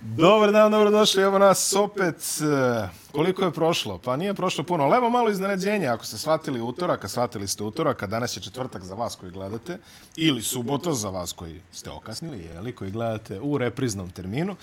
Dobar dan, dobrodošli, evo nas opet. E, Koliko je prošlo? Pa nije prošlo puno, ali evo malo iznenađenja. Ako ste shvatili utorak, a shvatili ste utorak, a danas je četvrtak za vas koji gledate, ili subota za vas koji ste okasnili, jeli, koji gledate u repriznom terminu.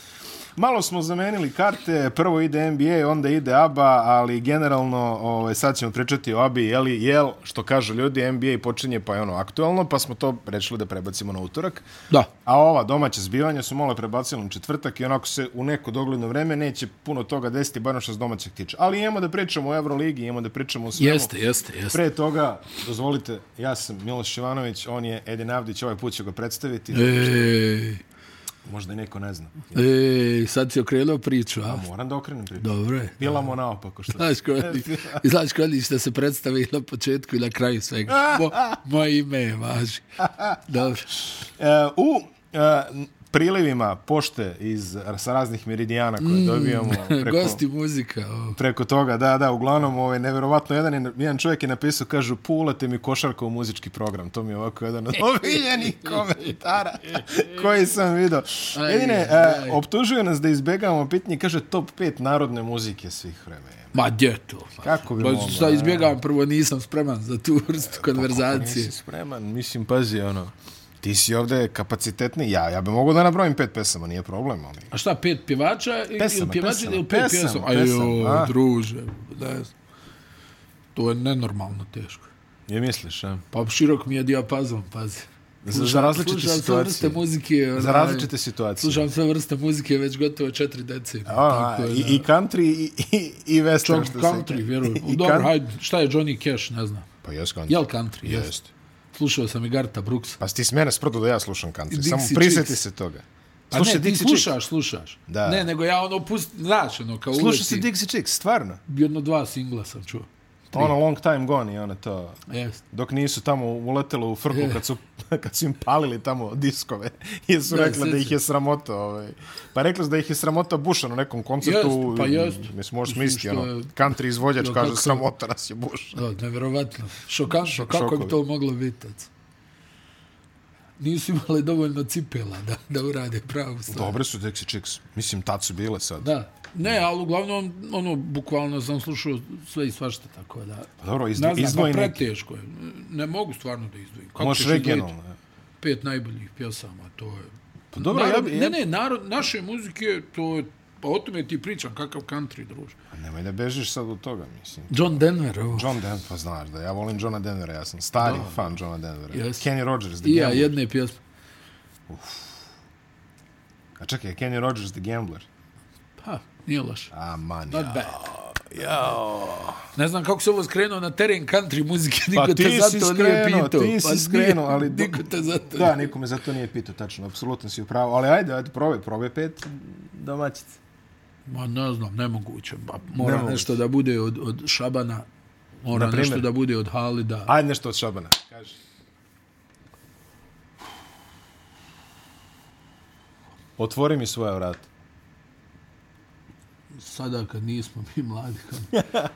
Malo smo zamenili karte, prvo ide NBA, onda ide ABA, ali generalno ovaj, sad ćemo pričati o ABI, jeli, jel, što kažu ljudi, NBA počinje pa je ono aktualno, pa smo to rečili da prebacimo na utorak. Da. A ova domaća zbivanja su malo prebacili na četvrtak i onako se u neko dogledno vreme neće puno toga desiti, bar što se domaćeg tiče. Ali imamo da pričamo o Euroligi, imamo da pričamo o svemu. Jeste, jeste, jeste. Pre toga, dozvolite, ja sam Miloš Ivanović, on je Edin Avdić, ovaj put ću ga predstaviti, Ej, možda i neko ne zna. ej, sad si okrenuo priču, a? Moram da okrenem priču. Dobro je. Bilamo naopako što Znaš koji, znaš koji ste se predstavili na početku i na kraju svega. Mo, moje ime je važi. Dobro. E, u e, prilivima pošte iz, sa raznih meridijana koje dobijamo preko, Mm. Gosti muzika. o. preko toga, da, da, uglavnom, ovaj, nevjerovatno, jedan, je, jedan čovjek je napisao, kažu, pulate mi košarka u muzički program. To mi je ovako jedan od omiljenih komentara koji sam vidio. Aj, Jedine, aj. e, optužuju nas da izbjegavamo pitanje, kaže, top 5 narodne muzike svih vremena. Ma gdje to? Pa, Kako bi pa mogla, šta izbjegavam, prvo nisam spreman za tu vrstu konverzacije. Pa, Nisi spreman, mislim, pazi, ono, ti si ovde kapacitetni, ja, ja bi mogao da nabrojim pet pesama, nije problem, ali... A šta, pet pjevača i, Pesama, ili pjevača pesama, ili pet pesama, pjesama? pesama, a? Ajo, druže, da jest. To je nenormalno teško. Je misliš, a? Pa širok mi je dijapazon, pazi. Za, za različite slušam sve vrste situacije. muzike. Za onaj, različite situacije. Slušam sve vrste muzike već gotovo četiri decenije. A, tako a, da- i, I country i, i, i western. Čak što se country, kaže. vjerujem. I Dobro, kan- hajde, šta je Johnny Cash, ne znam. Pa jes country. Jel country? Yes. Jest. Slušao sam i Garta Brooksa. Pa si ti s mene sprdo da ja slušam country. Dixie Samo prisjeti Chicks. se toga. Pa ne, ti Dixie slušaš, slušaš. Da. Ne, nego ja ono pust, znaš, ono, kao Chicks. Sluša se uleti. Dixie Chicks, stvarno. Jedno dva singla sam čuo. Ono long time gone i ono to. Jeste. Dok nisu tamo uletelo u frku kad su, kad su im palili tamo diskove. Jer su Da, rekli da sjećam ih je sramota. Ovaj. Pa rekli su da ih je sramota Buša na nekom koncertu. Jest, pa jest. Mislim, možeš Mislim, misliti, što ono, je- country izvođač Ja, kaže kako- sramota nas je Buša. Da, nevjerovatno. Šokantno, kako šokovi. bi to moglo biti? tac? Nisu imali dovoljno cipela da, da urade pravu stvar. Dobre su Dixie Chicks. Mislim, tad su bile sad. Da. Ne, ali uglavnom, ono, bukvalno sam slušao sve i svašta, tako da... Pa dobro, Ne izd, znam, izdvoji pa neki. preteško je. Ne mogu stvarno da izdvojim. Kako Možeš ćeš izdvojiti regionalno. e? je. Pet najboljih pjesama, to je... Pa dobro, ja narod, bi... Ja, Ne, ne, narod, naše muzike, to je... Pa o tome ti pričam, kakav country, druže. Pa Nemoj da bežiš sad od toga, mislim. John Denver, ovo. John Denver, pa znaš da ja volim Johna Denvera, ja sam stari no. fan Johna Denvera. Jes. Kenny Rogers, The I ja, Gambler. jedne pjesme. A čekaj, Kenny Rogers, The Gambler. Pa, nije loše. A man, Not ja. bad. Ne znam kako se ovo skrenuo na teren country muzike, niko Pa ti te si zato nije skrenuo, pitao. Pa ti si nije, skrenuo, ali do- Niko te zato Da, niko me za to nije pitao, tačno, apsolutno si upravo. Ali ajde, ajde, probaj, probaj pet domaćice. Ma ne znam, nemoguće. Pa, mora Nemoguće. nešto da bude od, od Šabana, mora Naprimjer? nešto da bude od Halida. Ajde nešto od Šabana, kaži. Otvori mi svoja vrata. Sada kad nismo mi mladi. Kad...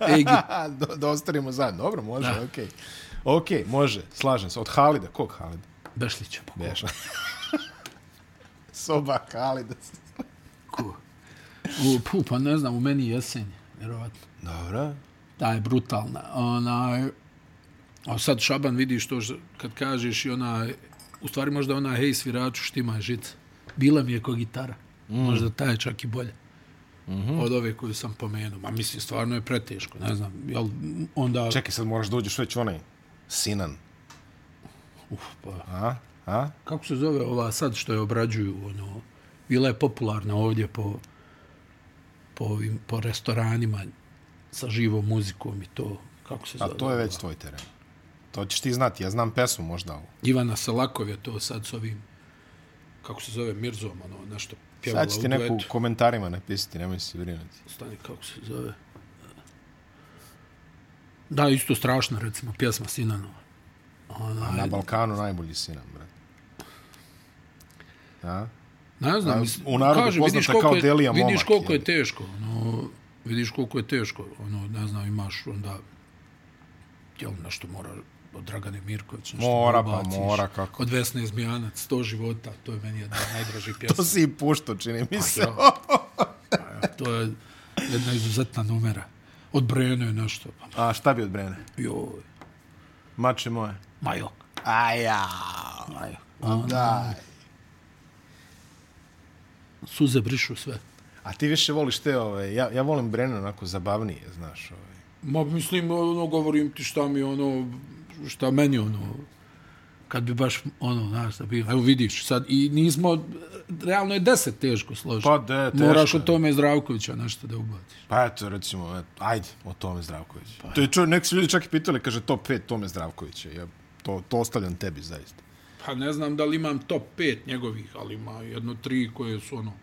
Egi, A, da, da ostavimo zajedno. Dobro, može, okej. Okej, može, slažem se. Od Halida, kog Halida? Bešlića. Pa, Beš. Soba Halida. ko? U, pu, pa ne znam, u meni je jesen, vjerovatno. Dobro. Da je brutalna. Ona, a sad Šaban vidiš to š- kad kažeš i ona, u stvari možda ona hej sviraču štima je žica. Bila mi je ko gitara. Mm. Možda ta je čak i bolja. Mm Mhm. -hmm. Od ove koju sam pomenuo. Ma mislim, stvarno je preteško. Ne znam, jel onda... Čekaj, sad moraš da uđeš već u onaj Sinan. Uf, pa, A? A? kako se zove ova sad što je obrađuju ono bila je popularna ovdje po po ovim po restoranima sa živom muzikom i to kako se zove A to je već tvoj teren. To ćeš ti znati, ja znam pesmu možda. ali- Ivana Selakov je to sad s ovim kako se zove Mirzom ono nešto pjevala Sad će ti neko u komentarima napisati, nemoj se brinuti. stani kako se zove da isto strašna recimo pjesma Sinanova ona Na Balkanu najbolji Sinan, brate. A? Ne znam, A, mislim, u narodu vidiš poznata koliko kao je- Delija Vidiš momak, koliko jel? je teško, ono, vidiš koliko je teško, ono, ne znam, imaš onda, jel, nešto mora od Dragane Mirković. Nešto Mora, mi pa ubaciš. mora, kako. Od Vesne Zmijanac, 100 života, to je meni jedna od najdražih pjesma. To si i pušto, čini mi se. Ja. to je jedna izuzetna numera. Od Breno je nešto. Pa, A šta bi od Brene? Joj, Mače moje. majok. Aja. majok. A, Da. suze brišu sve. A ti više voliš te ove, ja, ja volim Brene onako zabavnije, znaš. ovaj. Ove. Ma, mislim, ono, govorim ti šta mi, ono, šta meni, ono, kad bi baš, ono, znaš, da bi, evo vidiš, sad, i nismo, realno je deset teško složiti. Pa, de, teško Moraš je. od tome Zdravkovića nešto da ubaciš. Pa eto, recimo, eto, ajde, o Tome Zdravković. Pa, to je čovjek, neki su ljudi čak i pitali, kaže, top 5 Tome Zdravkovića. Ja, to, to ostavljam tebi, zaista. Pa ne znam da li imam top 5 njegovih, ali ima jedno tri koje su, ono,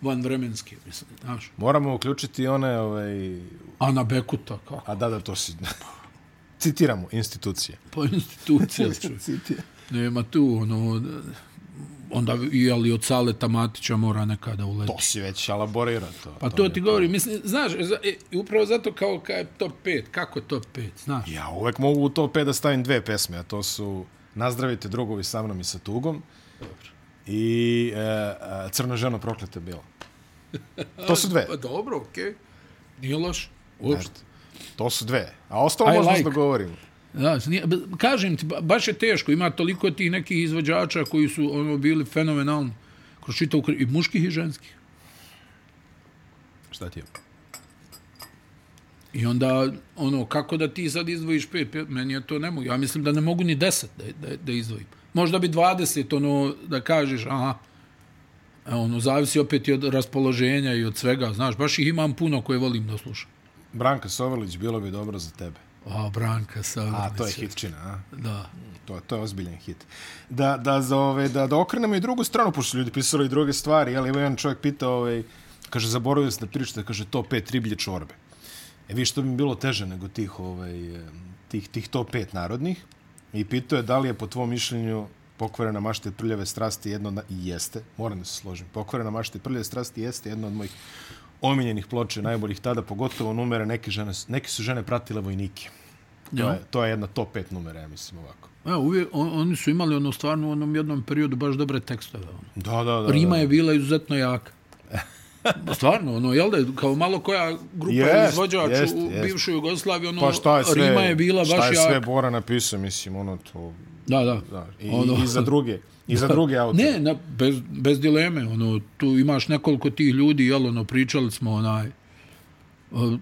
vanvremenske, mislim, znaš. Moramo uključiti one, ovaj, Ana Bekuta, kako? a da, da, to si... Citiramo institucije. Pa institucija, čovječ. Citira. Nema tu, ono, onda, i, ali od Saleta Matića mora nekada uleti. To si već elaborira to. Pa to ti govorim, mislim, znaš, za, e, upravo zato kao kad je top 5, kako top 5, znaš? Ja uvek mogu u top 5 da stavim dve pesme, a to su Nazdravite drugovi sa mnom i sa tugom i e, e, Crna žena prokleta bila. To su dve. Pa dobro, okej, nije loš, uopšte. To su dve. A ostalo I možemo like. se dogovorimo. Znaš, nije, b- kažem ti, ba- baš je teško, ima toliko tih nekih izvođača koji su ono bili fenomenalni, kroz čitav, kri- i muških i ženskih. Šta ti je? I onda, ono, kako da ti sad izdvojiš pet, pet meni je to ne mogu. Ja mislim da ne mogu ni deset da, da, da izdvojim. Možda bi 20, ono, da kažeš, aha, E, ono, zavisi opet i od raspoloženja i od svega, znaš, baš ih imam puno koje volim da slušam. Branka Sovrlić, bilo bi dobro za tebe. A, Branka sa... A, to je hitčina, a? Da. To, to je ozbiljan hit. Da, da, za ove, da, da okrenemo i drugu stranu, pošto su ljudi pisali i druge stvari, ali ima jedan čovjek pitao, ove, kaže, zaboravio sam da pričate, kaže, top 5 riblje čorbe. E vi što bi mi bilo teže nego tih, ovaj, e, tih, tih top 5 narodnih. I pitao je da li je po tvom mišljenju pokvarena mašta i prljave strasti jedno od, na- i jeste, moram da se složim, pokvarena mašta i prljave strasti jeste jedno od mojih omiljenih ploče najboljih tada, pogotovo numere, neke, žene, neke su žene pratile vojnike. To Ja. je, to je jedna top 5 numera, ja mislim ovako. Ja, uvijek, on, oni su imali ono stvarno u onom jednom periodu baš dobre tekstove. Ono. Da, da, da. Rima da. je bila izuzetno jaka. Ba, Stvarno, ono, jel da, je, kao malo koja grupa Jest, yes, izvođač jest, u jest. bivšoj Jugoslaviji, ono, Pa šta je sve, Rima je bila baš šta je sve jaka. Bora napisao, mislim, ono to... Da, da. Da, I, Ono- ono. I za druge. I za druge autore. Ne, na, bez, bez dileme, ono, tu imaš nekoliko tih ljudi, jel, ono, pričali smo, onaj, o,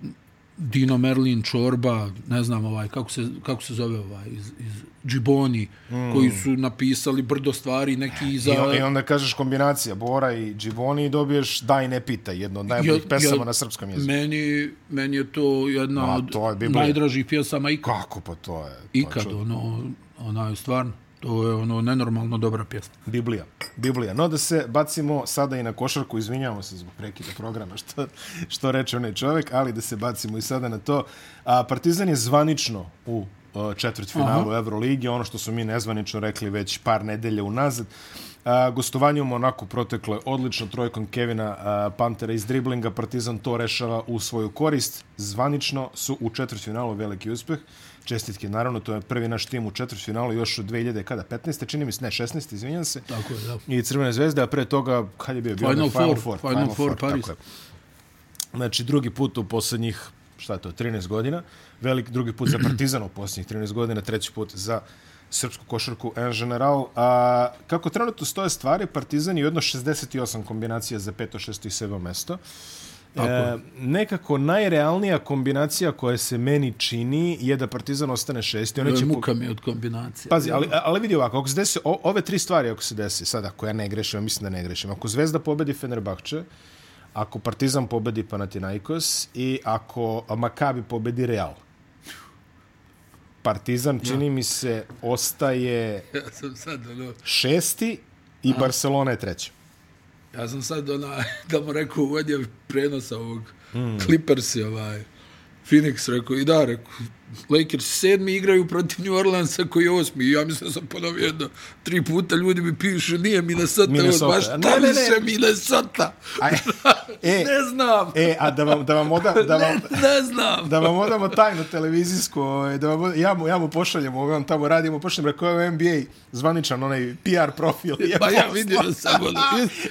Dino Merlin, Čorba, ne znam, ovaj, kako se, kako se zove ovaj, iz, iz Džiboni, mm. koji su napisali brdo stvari, neki za... I, on, I onda kažeš kombinacija Bora i Džiboni i dobiješ Daj ne pitaj, jedno od najboljih Ja- pesama ja- na srpskom jeziku. Meni, meni je to jedna Ma, od to je Biblija. najdražih pjesama ikad. Kako pa to je? To je Ikad, čud- ono, onaj, stvarno, to je ono nenormalno dobra pjesma. Biblija. Biblija. No da se bacimo sada i na košarku, izvinjavamo se zbog prekida programa, što, što reče onaj čovjek, ali da se bacimo i sada na to. A, Partizan je zvanično u e, četvrtfinalu Euroligi, ono što su mi nezvanično rekli već par nedelja unazad. A, gostovanje u Monaku proteklo je odlično trojkom Kevina a, Pantera iz driblinga. Partizan to rešava u svoju korist. Zvanično su u četvrtfinalu veliki uspeh. Čestitke, naravno, to je prvi naš tim u četvrtfinalu još od 2000, kada, 15. čini mi se, ne, 16, izvinjam se. Tako je, da. I Crvene zvezde, a pre toga, kad je bio? bio Final onaj Four, Final Four, Paris. tako je. Znači, drugi put u poslednjih, šta je to, 13 godina, velik drugi put za Partizan u poslednjih 13 godina, treći put za srpsku košarku en general. A, kako trenutno stoje stvari, Partizan je jedno 68 kombinacija za peto, šesto i sedmo mesto. E, nekako najrealnija kombinacija koja se meni čini je da Partizan ostane šesti. Oni će po- Muka mi je od kombinacije. Pazi, ali, ali vidi ovako, ako se desi, o, ove tri stvari ako se desi, sad ako ja ne grešim, ja mislim da ne grešim, ako Zvezda pobedi Fenerbahče, ako Partizan pobedi Panathinaikos i ako Makabi pobedi Real. Partizan, čini mi se, ostaje Ja sam sad, ono, šesti i Barcelona je treća. Ja sam sad ona, da mu rekao, Hmm. uvedio prenosa ovog mm. Clippers i ovaj Phoenix, rekao, i da, rekao, Lakers sedmi igraju protiv New Orleansa koji je osmi. I Ja mislim da sam ponovio jedno, tri puta ljudi mi pišu, nije Minnesota, Minnesota. Minnesota. baš šta Ne, ne, mi ne. se Minnesota? Aj, e, Ne znam, e, a da vam, da vam, oda, da vam, ne znam. da vam odamo tajnu televizijsku, ovaj, da vam, od- ja, mu, ja mu pošaljem, ovaj, on tamo radimo, pošaljem, rekao je NBA, zvaničan onaj PR profil. Je Pa ja poslao. vidio sam ono.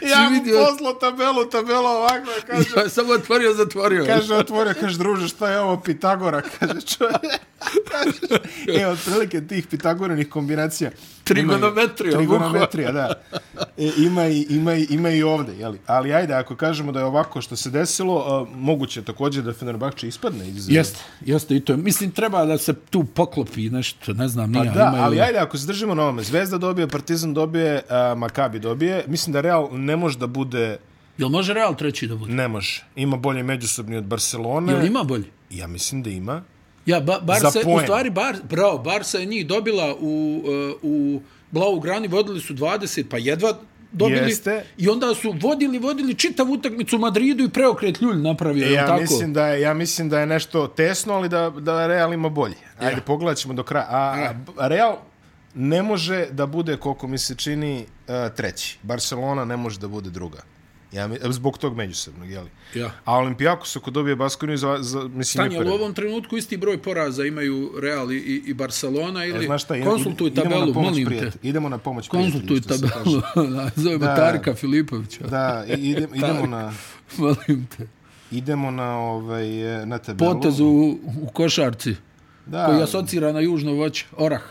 ja mu vidio- poslao tabelu, tabela ovakva, kaže, Ja sam otvorio, zatvorio. Kaže, otvorio, kaže, druže, šta je ovo Pitagora? Kaže, čovjek. e, otprilike tih Pitagorinih kombinacija. Trigonometrija, Ima i- Trigonometrija, da. E, ima, i, ima, i, ima i ovde, jeli? Ali ajde, ako kažemo da je ovako što se desilo, a, moguće je također da Fenerbahče ispadne iz... Jeste, jeste i to. je. Mislim, treba da se tu poklopi nešto, ne znam, Pa nije. da, imaju- ali ajde, ako se držimo na ovome, Zvezda dobije, Partizan dobije, a, Makabi dobije, mislim da Real ne može da bude, Jel može Real treći da bude? ne može. Ima bolje međusobni od Jel Barcelone, ima bolje? ja mislim da ima. Ja, ba, Za Barca, u poen. stvari, Bar, bravo, Barca je njih dobila u, uh, u Blau Grani, vodili su 20, pa jedva dobili. Jeste. I onda su vodili, vodili čitavu utakmicu u Madridu i preokret Ljulj napravio, ja, Ja tako? mislim da je ja mislim da je nešto tesno, ali da da Real ima bolje. Ajde ja. pogledat ćemo do kraja. A, a Real ne može da bude koliko mi se čini uh, treći. Barcelona ne može da bude druga. Ja mi, zbog tog međusobnog, je li? Ja. A Olimpijakos ako dobije Baskoniju za, za mislim Tanja, je ali u prvi. ovom trenutku isti broj poraza imaju Real i, i, i Barcelona ili E, Znaš šta, idemo- konsultuj idemo na tabelu, pomoć molim te. prijatelju. Idemo na pomoć Konsultuj prijatelju, što se kaže. tabelu, zovemo Da. Tarka Filipovića, Da, i- ide, idemo na molim te. idemo na ovaj e, na tabelu. Potez u, u košarci da, koji asocira na južno voće, orah.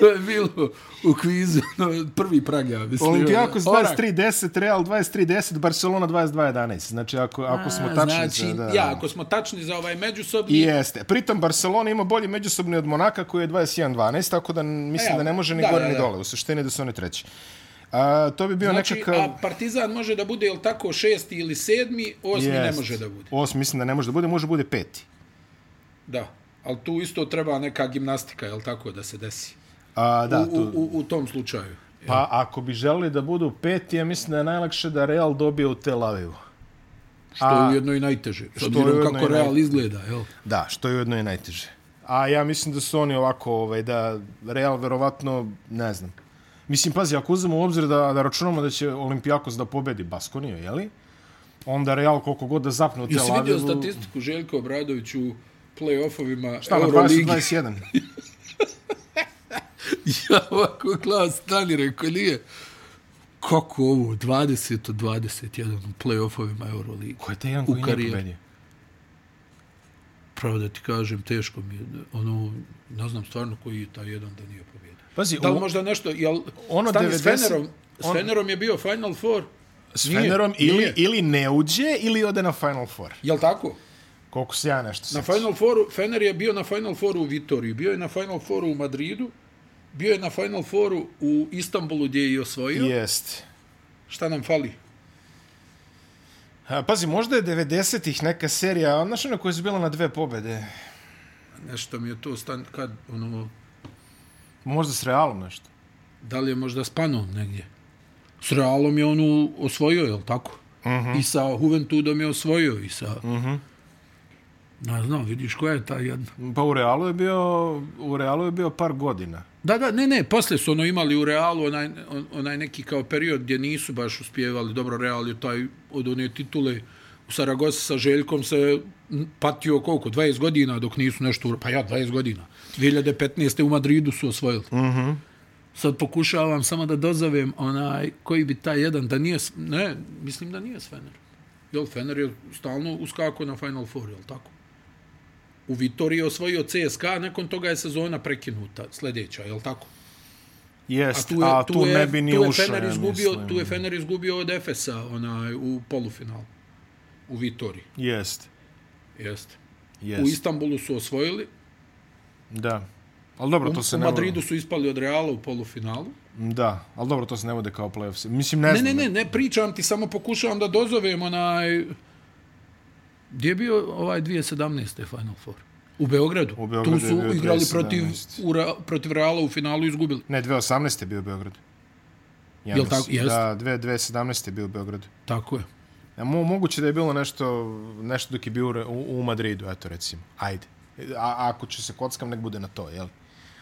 to je bilo u kvizu, no, prvi prag, ja mislim. Olimpijakos Orah. 23-10, Real 23-10, Barcelona 22-11. Znači, ako, ako smo A, tačni... Znači, za- da, ja, ako smo tačni za ovaj međusobni, I Jeste. Pritom, Barcelona ima bolji međusobni od Monaka koji je 21-12, tako da n- mislim E, da ne može ni da, gore da, ni da. dole. U suštini da su oni treći. A, to bi bio znači, nekakav... a Partizan može da bude, jel tako, šesti ili sedmi, osmi ne Jest. može da bude. Osmi mislim da ne može da bude, može da bude peti. Da, ali tu isto treba neka gimnastika, jel tako, da se desi. A, da, u, tu, u, u tom slučaju. pa ako bi želeli da budu peti, ja mislim da je najlakše da Real dobije u Tel Avivu. Što je ujedno i najteže. S obzirom ujedno kako i Real najteže. izgleda, jel? Da, što je ujedno i najteže. A ja mislim da su oni ovako, ovaj, da Real verovatno, ne znam. Mislim, pazi, ako uzmemo u obzir da, da računamo da će Olimpijakos da pobedi Baskoniju, jeli? Onda Real koliko god da zapne u Jesi Tel vidio Avivu... statistiku Željko Obradović u play-offovima Šta, na Euroligi? 20-21? ja ovako glas stani, rekao, nije. Kako ovo, 20 od 21 u play-offovima Euroligi? Ko je taj jedan U koji nije karijeri. pobedio? Pravo da ti kažem, teško mi je. Ono, ne znam stvarno koji je taj jedan da nije pobjedio. Pazi, Da li u- možda nešto, jel, ono Ono stani 90, s 90 Fenerom, s on- Fenerom je bio Final Four, S Nije, Fenerom ili, nije. ili ne uđe ili ode na Final Four. jel tako? Koliko se ja nešto Na sjećam. Final Fouru, Fener je bio na Final Fouru u Vitoriji, bio je na Final Fouru u Madridu, bio je na Final Fouru u Istanbulu gdje je i osvojio. Je. Jest. Šta nam fali? A, pazi, možda je 90-ih neka serija, a znaš ono ona koja je bila na dve pobede. Nešto mi je to stan, kad, ono, Možda s Realom nešto. da li je možda s Panom negdje? S Realom je onu osvojio, jel tako? Uh Mhm. -huh. I sa Juventudom je osvojio i sa... Uh -huh. Ne znam, vidiš koja je ta jedna. Pa u Realu je bio, u Realu je bio par godina. Da, da, ne, ne, posle su ono imali u Realu onaj, on, onaj neki kao period gdje nisu baš uspjevali. Dobro, Real je taj od one titule u Saragosi sa Željkom se m, patio koliko? 20 godina dok nisu nešto... ur- Pa ja, 20 godina. 2015. u Madridu su osvojili. Mm -hmm. Sad pokušavam samo da dozovem onaj koji bi taj jedan da nije... s- Ne, mislim da nije s Fener. Jel, Fener je stalno uskakao na Final Four, jel tako? U Vitoriji je osvojio CSKA, nakon toga je sezona prekinuta, sljedeća, jel tako? Jest, tu je, a tu, tu je, ne bi ni tu je ušao, Fener ja izgubio, mislim. tu je Fener izgubio od Efesa onaj u polufinalu u Vitoriji. Jest, Jeste. U jest, Istanbulu su osvojili, da. Ali dobro, to u se ne Madridu su ispali od Reala u polufinalu. vode. Da, ali dobro, to se ne vode kao playoffs. Mislim, ne, Ne, znam. ne, ne, ne pričam ti, samo pokušavam da dozovem onaj gdje je bio ovaj 2017. Final Four. U Beogradu. U Beogradu tu je bio su igrali 2017. protiv, u, Ra- protiv Reala u finalu i izgubili. Ne, 2018. je bio u Beogradu. Ja Jel mislim, tako? Jest. Da, dve- 2017. je bio u Beogradu. Tako je. Ja, mo, moguće da je bilo nešto, nešto dok je bio u Re- u, u Madridu, eto recimo. Ajde. A, ako će se kockam, nek bude na to, jel?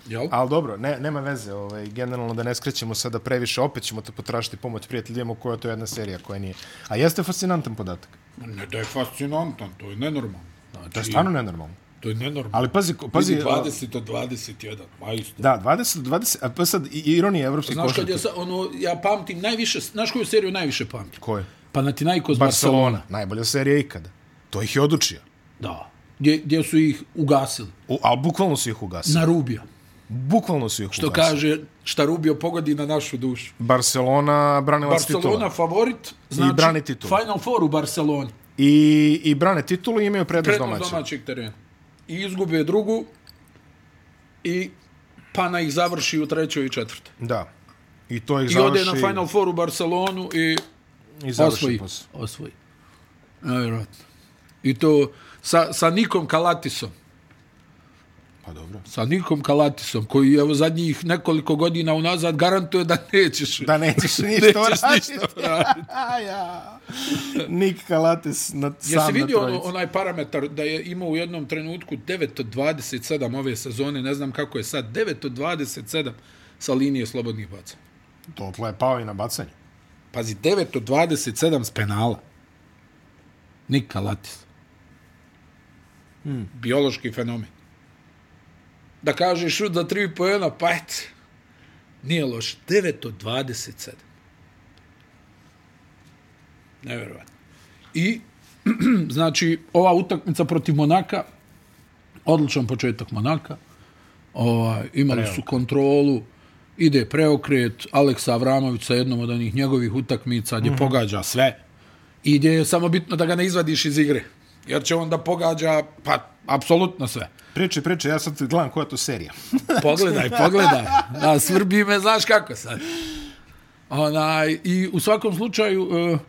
Jel? Ali dobro, ne, nema veze, ovaj, generalno da ne skrećemo sada previše, opet ćemo te potražiti pomoć prijateljima koja to je jedna serija koja nije. A jeste fascinantan podatak. Ne, da je fascinantan, to je nenormalno. Znači, To je stvarno nenormalno. to je nenormalno. Ali pazi, ko- pazi, Vidi, 20 do 21, majstor. da, 20, 20, a pa sad i- i ironija evropskih Znaš kad košarki. ja, sa, ono, ja pamtim najviše, znaš koju seriju najviše pamtim? Pa Ko je? Panathinaikos Barcelona. Barcelona, najbolja serija ikada. To ih je odučio. Da. Gdje, gdje su ih ugasili. U, ali bukvalno su ih ugasili. Na Rubio. Bukvalno su ih To ugasili. kaže šta Rubio pogodi na našu dušu. Barcelona branilac Barcelona titula. favorit, znači brani titulu. Final Four u Barceloni. I, I brane titulu i imaju prednost Prednost domaća. domaćeg terena. I izgube drugu i Pana ih završi u trećoj i četvrtoj. Da. I to ih I ode na završi Final Four u Barcelonu i i završi osvoji. posao. Osvoji. Nevjerojatno. I to sa, sa Nikom Kalatisom. Pa dobro. Sa Nikom Kalatisom, koji evo zadnjih nekoliko godina unazad garantuje da nećeš. Da nećeš ništa nećeš raditi. ništa raditi. Aja. Nik Kalates na, sam Jesi na vidio ono, trojici. onaj parametar da je imao u jednom trenutku 9 od 27 ove sezone, ne znam kako je sad, 9 od 27 sa linije slobodnih baca. Topla je pao i na bacanje. Pazi, 9 od 27 s penala. Nika Latis. Hmm. Biološki fenomen. Da kažeš šut za 3 pojena, pa et. Nije loš. 9 od 27. Neverovatno. I, znači, ova utakmica protiv Monaka, odličan početak Monaka, ovaj, imali preokret. su kontrolu, ide preokret, Aleksa Avramović sa jednom od onih njegovih utakmica gdje mm -hmm. pogađa sve i gdje je samo bitno da ga ne izvadiš iz igre, jer će on da pogađa, pa, apsolutno sve. Priče, priče, ja sad gledam koja je to serija. Pogledaj, pogledaj. Da, svrbi me, znaš kako sad. Onaj, I u svakom slučaju, uh,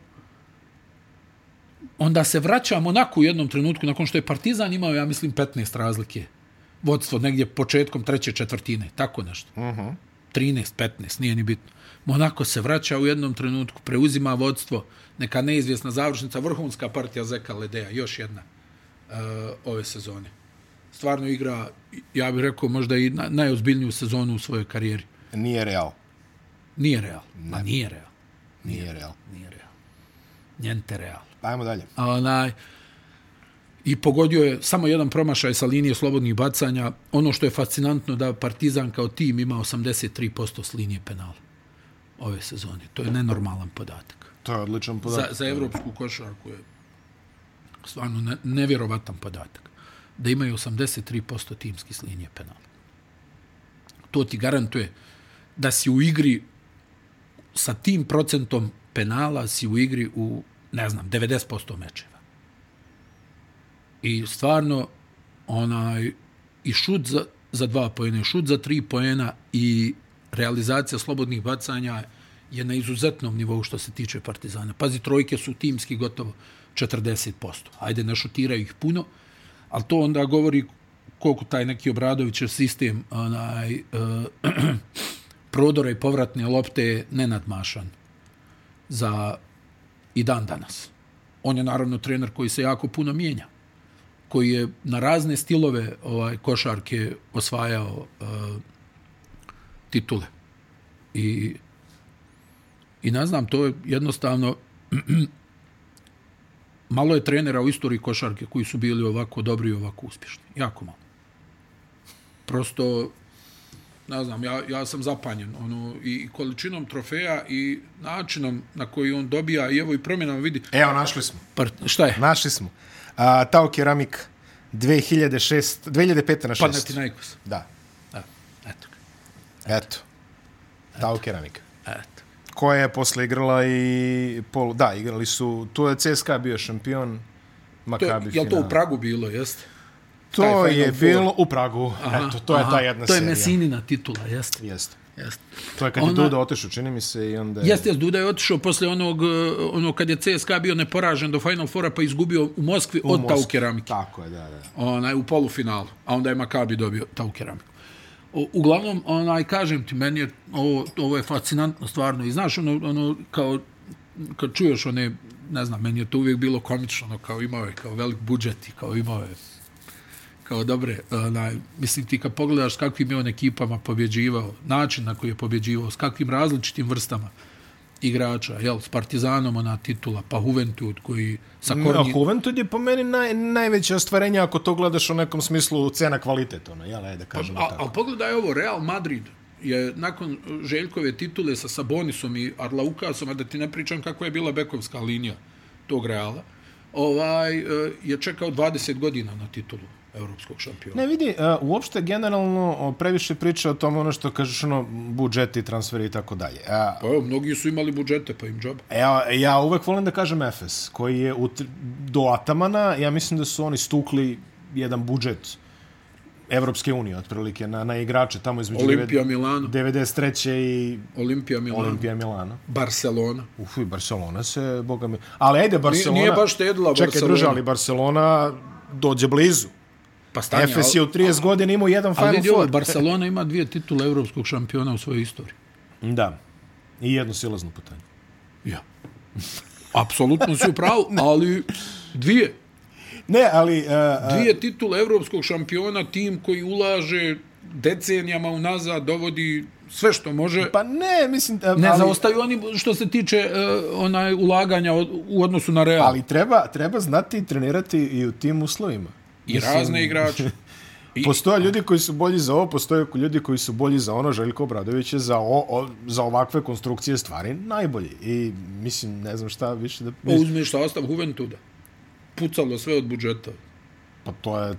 onda se vraća Monaku u jednom trenutku, nakon što je Partizan imao, ja mislim, 15 razlike. Vodstvo negdje početkom treće četvrtine, tako nešto. Uh -huh. 13, 15, nije ni bitno. Monako se vraća u jednom trenutku, preuzima vodstvo, neka neizvjesna završnica, vrhunska partija Zeka Ledeja, još jedna uh, ove sezone. Stvarno igra, ja bih rekao, možda i na, najozbiljniju sezonu u svojoj karijeri. Nije real. Nije real. Ma nije real. Nije real. Nije real. Njente real. Ajmo dalje. A onaj, I pogodio je samo jedan promašaj sa linije slobodnih bacanja. Ono što je fascinantno da Partizan kao tim ima 83% s linije penala ove sezone. To je nenormalan podatak. To je odličan Za, podatak. za evropsku košarku je stvarno ne, nevjerovatan podatak. Da imaju 83% timski s linije penala. To ti garantuje da si u igri sa tim procentom penala si u igri u, ne znam, 90% mečeva. I stvarno, onaj, i šut za, za dva pojena, i šut za tri pojena, i realizacija slobodnih bacanja je na izuzetnom nivou što se tiče Partizana. Pazi, trojke su timski gotovo 40%. Ajde, ne šutiraju ih puno, ali to onda govori koliko taj neki Obradovićev sistem onaj, uh, prodora i povratne lopte je nenadmašan za i dan danas. On je naravno trener koji se jako puno mijenja, koji je na razne stilove ovaj košarke osvajao uh, titule. I, I ne znam, to je jednostavno malo je trenera u istoriji košarke koji su bili ovako dobri i ovako uspješni. Jako malo. Prosto ne znam, ja, ja sam zapanjen ono, i, i količinom trofeja i načinom na koji on dobija i evo i promjenama vidi. Evo, našli smo. E, Par, šta je? Našli smo. A, Tao Keramik 2006, 2005. na 6. Panathinaikos. Da, Da, eto ga. eto. Tao Keramik. Eto. Koja je posle igrala i... Pol, da, igrali su... Tu je CSKA bio šampion To, Makabi je, je li to u Pragu bilo, jeste? taj To Final je Four? bilo u Pragu. Aha, eto, to je ta jedna To je serija. Messinina titula, jeste. Jeste. Jeste. To je kad Ona... je Ona- Duda otišao, čini mi se, i onda... je- Jeste, jeste, Duda je otišao posle onog, eh, ono kad je CSKA bio neporažen do Final Fora pa izgubio u Moskvi u od Moskvi. Tau Keramike. Tako je, da, da. onaj, u polufinalu, a onda je Makabi dobio Tau keramiku. O, uglavnom, onaj, kažem ti, meni je, ovo, ovo je fascinantno stvarno i znaš, ono, ono kao kad čuješ one ne znam, meni je to uvijek bilo komično, ono, kao imao je, kao velik budžet i kao imao je, kao dobre, onaj, mislim ti kad pogledaš s kakvim je on ekipama pobjeđivao, način na koji je pobjeđivao, s kakvim različitim vrstama igrača, jel, s Partizanom ona titula, pa Juventud koji sa Na Kornji, Juventud je po meni naj, najveće ostvarenje ako to gledaš u nekom smislu cena kvalitet, ono, jel, ajde, kažemo Pa, A, tako. a pogledaj ovo, Real Madrid je nakon Željkove titule sa Sabonisom i Arlaukasom, a da ti ne pričam kakva je bila bekovska linija tog Reala, ovaj, e, je čekao 20 godina na titulu evropskog šampiona. Ne vidi, uh, uopšte generalno o, previše priča o tom ono što kažeš ono budžeti, transferi i tako dalje. A, Pa evo, mnogi su imali budžete, pa im džaba. Ja, E, ja uvek volim da kažem Efes, koji je u, tr- do Atamana, ja mislim da su oni stukli jedan budžet Evropske unije, otprilike, na, na igrače tamo između Olimpija devet- Milano, 93. i Olimpija Milano, Olimpija Milano. Barcelona. Uf, i Barcelona se, boga mi... Ali ajde, Barcelona... nije baš štedila Čekaj, Barcelona. druže, ali Barcelona dođe blizu. Pa stani, Efes je u 30 godina imao jedan ali, ali vidi Final ovo, Four. Barcelona ima dvije titule evropskog šampiona u svojoj istoriji. Da. I jedno silazno putanje. Ja. Apsolutno si u pravu, ali dvije. Ne, ali... Uh, Dvije titule evropskog šampiona, tim koji ulaže decenijama unazad, dovodi sve što može. pa ne, mislim... a- ne ali, zaostaju oni što se tiče uh, onaj ulaganja od- u odnosu na Real Ali treba, treba znati i trenirati i u tim uslovima. i razne igrače. I- Postoje ljudi koji su bolji za ovo, postoje ljudi koji su bolji za ono, Željko Obradović je za, o, o, za ovakve konstrukcije stvari najbolji. I mislim, ne znam šta više da... Pa uzmeš sastav Juventuda. Pucalo sve od budžeta. Pa to je...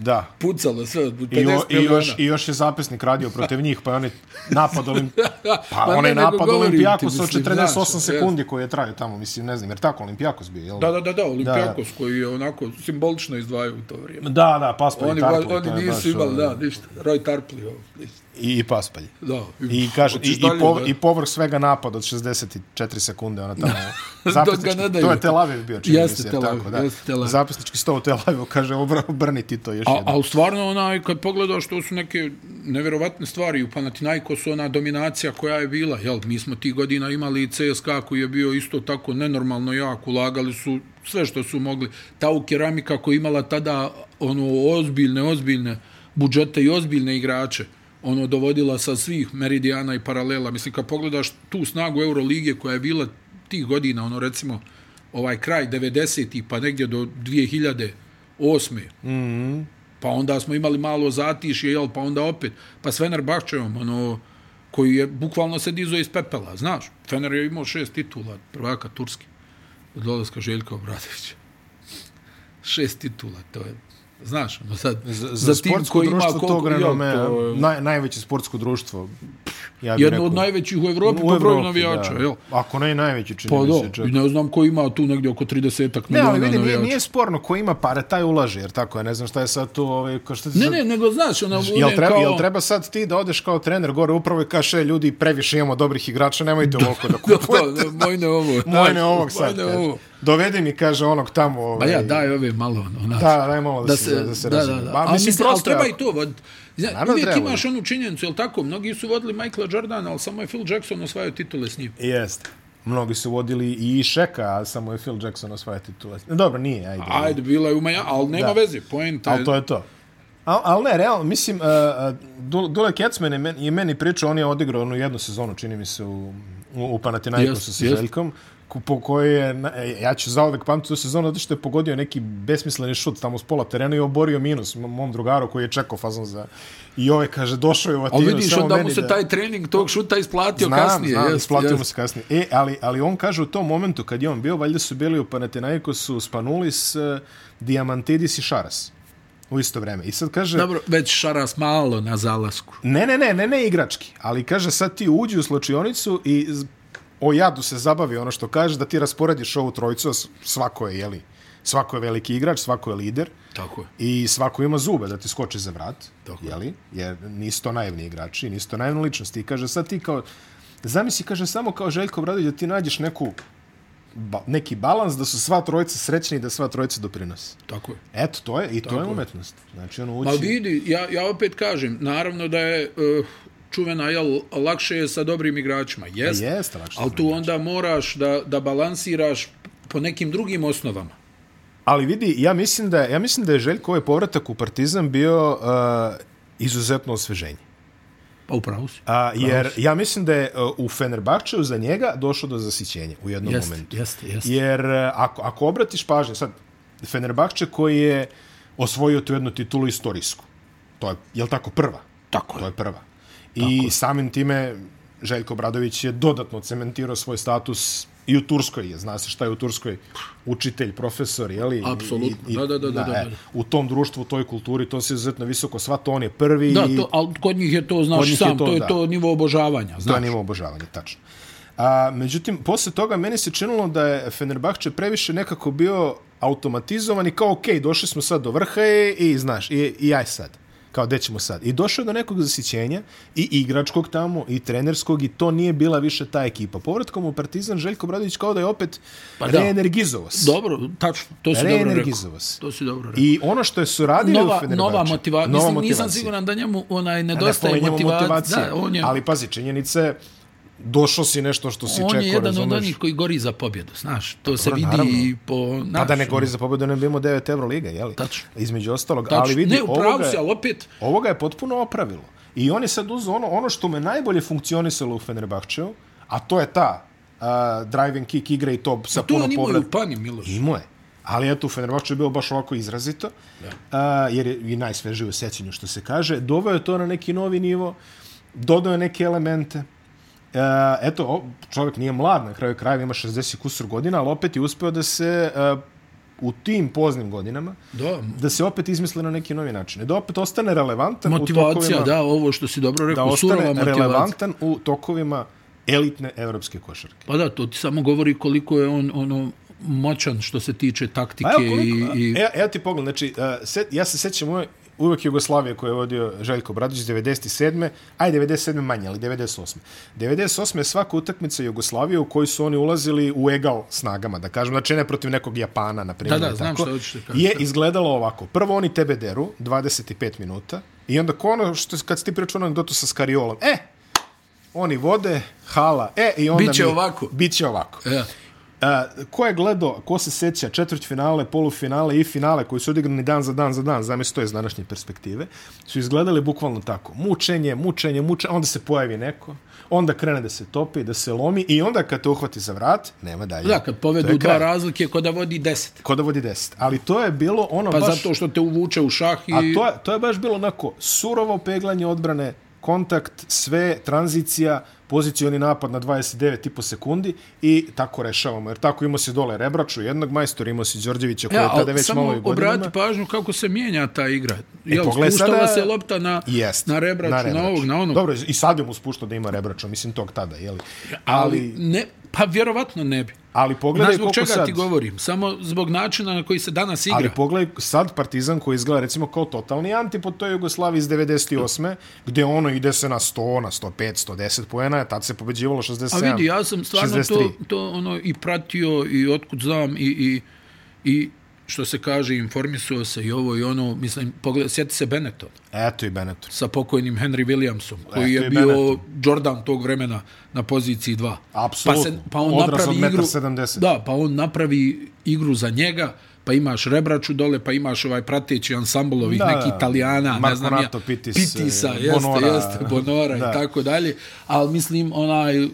Da. Pucalo sve od budžeta. I, o, 50 i, još, miliona. I još je zapisnik radio protiv njih, pa je onaj napad, olim, pa ne, onaj nego napad govorim ti, Olimpijakos od mislim, 48 znaš, sekundi koji je trajao tamo, mislim, ne znam, jer tako Olimpijakos bio, jel? Da, da, da, da, Olimpijakos koji je onako simbolično izdvajao u to vrijeme. da, da Paspalj Oni, i Tarpalj. to je oni baš, nisu imali, ono, da, ništa. Roy Tarpley, ovo, ništa. I, i Paspalj. Da. I, kaže, i, Hoćeš i, dalje po, da- i povrh svega napad od 64 sekunde, ona tamo Dok ga ne zapisnički, daju. to je Tel Aviv bio, čini mi Jeste se, Tel Aviv, tako, da. jeste Tel Aviv. Zapisnički sto u Tel Avivu, kaže, obra- obrni ti to još A, jednom. ali stvarno, onaj, kad pogledaš, to su neke neverovatne stvari. U Panathinaikosu ona dominacija koja je bila. Jel, mi smo ti godina imali i CSKA koji je bio isto tako nenormalno jak. Ulagali su sve što su mogli. Ta u keramika koja je imala tada ono ozbiljne, ozbiljne budžete i ozbiljne igrače ono dovodila sa svih meridijana i paralela. Mislim, kad pogledaš tu snagu Euroligije koja je bila tih godina, ono recimo ovaj kraj 90-ih pa negdje do 2008 pa onda smo imali malo zatišje, jel, pa onda opet, pa s Fenerbahčevom, ono, koji je bukvalno se dizo iz pepela, znaš, Fener je imao šest titula, prvaka Turske, od dolaska Željka Obradovića. Šest titula, to je, znaš, ono sad, Za, za, za sportsko društvo tog jel, renome, to je naj, najveće sportsko društvo, ja bih jedno od rekao. najvećih u Evropi po broju navijača, jel? Ako ne i najveći, čini Pa mi se. do, Čak. i ne znam ko ima tu negdje oko Ne, 30-ak miliona ali vidi, nije, navijača. nije sporno ko ima pare, taj ulaže, jer tako je, ne znam šta je sad tu, ovaj, kao šta ti Ne, sad- ne, nego znaš, ono, Jel one treba, kao... jel treba sad ti da odeš kao trener gore upravo i kaže, "E, ljudi, previše imamo dobrih igrača, nemojte ovoliko da kupujete. to, to, mojne ovo. Moj ne znaš, ovog sad. mojne kaže. ovo. Dovedi mi, kaže, onog tamo. Pa Ovaj, ja, daj ove malo, ono, znaš. Da, daj malo da, se, da se da, da, razumije. da. Ba, A mislim, mislim, ali prosto, treba treba i to. Vod, zna, Naravno uvijek treba, imaš onu činjenicu, jel tako? Mnogi su vodili Michaela Jordana, ali samo je Phil Jackson osvajao titule s njim. Jeste. Mnogi su vodili i Šeka, a samo je Phil Jackson osvaja titule. Dobro, nije, ajde. Ajde, bila je u Maja, ali nema Da. veze, poenta Ali je... to je to. Al, al ne, realno, mislim, uh, uh, Dule Kecman je meni, je meni pričao, on je odigrao onu jednu sezonu, čini mi se, u, u, u Panathinaikosu Jest, sa jest. Željkom, ko- po kojoj je, na- e, ja ću zaovek pamtiti tu sezonu, zato što je pogodio neki besmisleni šut tamo s pola terena i oborio minus mom- mom drugaru koji je čekao fazon za... I ovaj kaže, došao je u Ali Atinu, vidiš, samo onda mu meni se da- taj trening tog šuta isplatio kasnije. Znam, jest, isplatio mu jest. se kasnije. E, ali, ali on kaže u tom momentu kad je on bio, valjda su bili u Panathinaikosu Spanulis, eh, Diamantidis i Šaras u isto vreme. I sad kaže, Dobro, već Šaras malo na zalasku. ne, ne, ne, ne, ne igrački, ali kaže sad ti uđi u slučionicu i z- o jadu se zabavi ono što kaže, da ti rasporediš ovu trojicu, a s- svako je, jeli, svako je veliki igrač, svako je lider, Tako je. I svako ima zube da ti skoči za vrat, Tako je. jeli? Jer nisu to naivni igrači, nisu to naivne ličnosti. I kaže, sad ti kao, zamisli, kaže, samo kao Željko Bradović da ti nađeš neku, ba, neki balans da su sva trojica srećni i da sva trojica doprinose. Tako je. Eto, to je, i to je umetnost. Znači, ono uči... Ma vidi, ja, ja opet kažem, naravno da je uh, čuvena, jel, Pa lakše je sa dobrim igračima. Jest, znači? Jeste lakše sa ali tu onda moraš da, da balansiraš po nekim drugim osnovama. Ali vidi, ja mislim da, ja mislim da je Željko ovaj povratak u Partizan bio uh, izuzetno osveženje. Pa upravo si. A, jer ja mislim da je uh, u Fenerbahčeju za njega došlo do zasićenja u jednom Jeste, momentu. jeste, jeste. Jer uh, ako, ako obratiš pažnje, sad, Fenerbahče koji je osvojio tu jednu titulu istorijsku, to je, je li tako, prva? Tako To je. je prva. I samim time Željko Bradović je dodatno cementirao svoj status i u Turskoj je, zna se šta je u Turskoj, učitelj, profesor, jeli? Apsolutno, I, i, da, da, da, da, da. e, U tom društvu, u toj kulturi, to se izuzetno visoko, sva to on je prvi Da, i to, ali kod njih je to, Kod znaš njih sam, je to, to, je da. to nivo obožavanja. to je Znaš. nivo obožavanja, tačno. A, međutim, posle toga meni se činilo da je Fenerbahče previše nekako bio automatizovan i kao, ok, došli smo sad do vrha i, i znaš, i, i aj sad. Kao, gde ćemo sad? I došao je do nekog zasićenja i igračkog tamo i trenerskog i to nije bila više ta ekipa. Povratkom u Partizan Željko Bradović kao da je opet pa Pa da. reenergizovao se. Dobro, tačno, to si dobro rekao. Reenergizovao se. To si dobro rekao. I ono što je suradili u Nova, Fenerbahče... nova, motiva... nova Mislim, nisam motivacija. siguran da njemu onaj A ne nedostaje pominjemo motiva- motivacije. Da, on je, Ali pazi, činjenice, došao si nešto što si on čekao, je jedan razumeš? Pa od onih koji gori za pobjedu, znaš. To se vidi naravno. i po... Pa da ne znaš, ono- gori za pobjedu, ne bimo 9 euro liga, jeli? Tačno. Između ostalog. tačno. Ali vidi, ne, u pravu ovoga, si, je, ali opet... ovoga je potpuno opravilo. I on je sad uzao ono, ono što me najbolje funkcionisalo u Fenerbahčeu, a to je ta uh, driving kick igra i to sa To puno on imao povrat. u pani, Miloš. Imao je. Ali eto, u Fenerbahču je bilo baš ovako izrazito, a, jer je i najsvežije u sećanju, što se kaže. Doveo je to na neki novi nivo, dodao je neke elemente. E, eto, o, čovjek nije mlad, na kraju krajeva ima 60 i kusur godina, ali opet je uspeo da se e, u tim poznim godinama, Da, da se opet izmisle na neki novi način. I da opet ostane relevantan u motivacija, tokovima, da, ovo što si dobro da rekao, surova ostane motivacija. relevantan u tokovima elitne evropske košarke. Pa da, to ti samo govori koliko je on ono moćan što se tiče taktike A evo i, koliko, i e, evo ti pogled, znači, uh, se, ja se sećam uvek, uvek Jugoslavije koju je vodio Željko Bradić 97. Aj, 97. manje, ali 98. 98. je svaka utakmica Jugoslavije u kojoj su oni ulazili u egal snagama, da kažem, znači ne protiv nekog Japana, na primjer. Da, da, ili znam tako, šta hoćeš da kažeš, Je da. izgledalo ovako. Prvo oni tebe deru, 25 minuta, i onda ko ono, što, kad si ti pričao onu anegdotu sa Skariolom, e, oni vode, hala, e, i onda Biće mi, ovako. Biće ovako. e, A, ko je gledao, ko se seća četvrtfinale, polufinale i finale koji su odigrani dan za dan za dan, zamisli to je iz današnje perspektive, su izgledali bukvalno tako. Mučenje, mučenje, mučenje, onda se pojavi neko, onda krene da se topi, da se lomi i onda kad te uhvati za vrat, nema dalje. da, kad povedu To je dva kraj. razlike, ko da vodi deset. Ko da vodi 10. Ali to je bilo ono Pa baš... zato što te uvuče u šah i... A to je, to je baš bilo onako surovo peglanje odbrane, kontakt, sve, tranzicija, pozicioni napad na 29,5 sekundi i tako rešavamo. Jer tako imao si dole Rebraču, jednog majstora, imao si Đorđevića koji Ja, je tada ali već malo i samo u godinama. E, obrati pa pažnju kako se mijenja ta igra. Jel, pogledaj spuštala sada- se lopta na, Jest. na rebraču, na, ovog, na onog. Dobro, i sad je mu spuštao da ima Rebrača, mislim tog tada, jeli? ali, Ali, ne, pa vjerovatno ne bi. ali Znaš pogledaj zbog koliko čega sad... ti govorim? Samo zbog načina na koji se danas igra. Ali pogledaj sad Partizan koji izgleda recimo kao totalni antipod toj Jugoslaviji iz 98. gde ono ide se na 100, na 105, 110 poena, tad se pobeđivalo 67. A vidi, ja sam stvarno 63. to, to ono i pratio i otkud znam i, i, i što se kaže, informisuo se i ovo i ono, mislim, pogled, sjeti se Benetton Eto i Benetton. sa pokojnim Henry Williamsom, koji Eto je i bio Benetton. Jordan tog vremena na poziciji 2. Apsolutno. Pa, se, pa on Odraz od napravi igru, 1,70. Da, pa on napravi igru za njega, pa imaš Rebraču dole, pa imaš ovaj prateći ansambl ovih Da, neki Italijana, Marco ne znam Nato, ja, Pitis, Pitisa, eh, jeste, Bonora. jeste, Bonora Da. i tako dalje, ali mislim, onaj,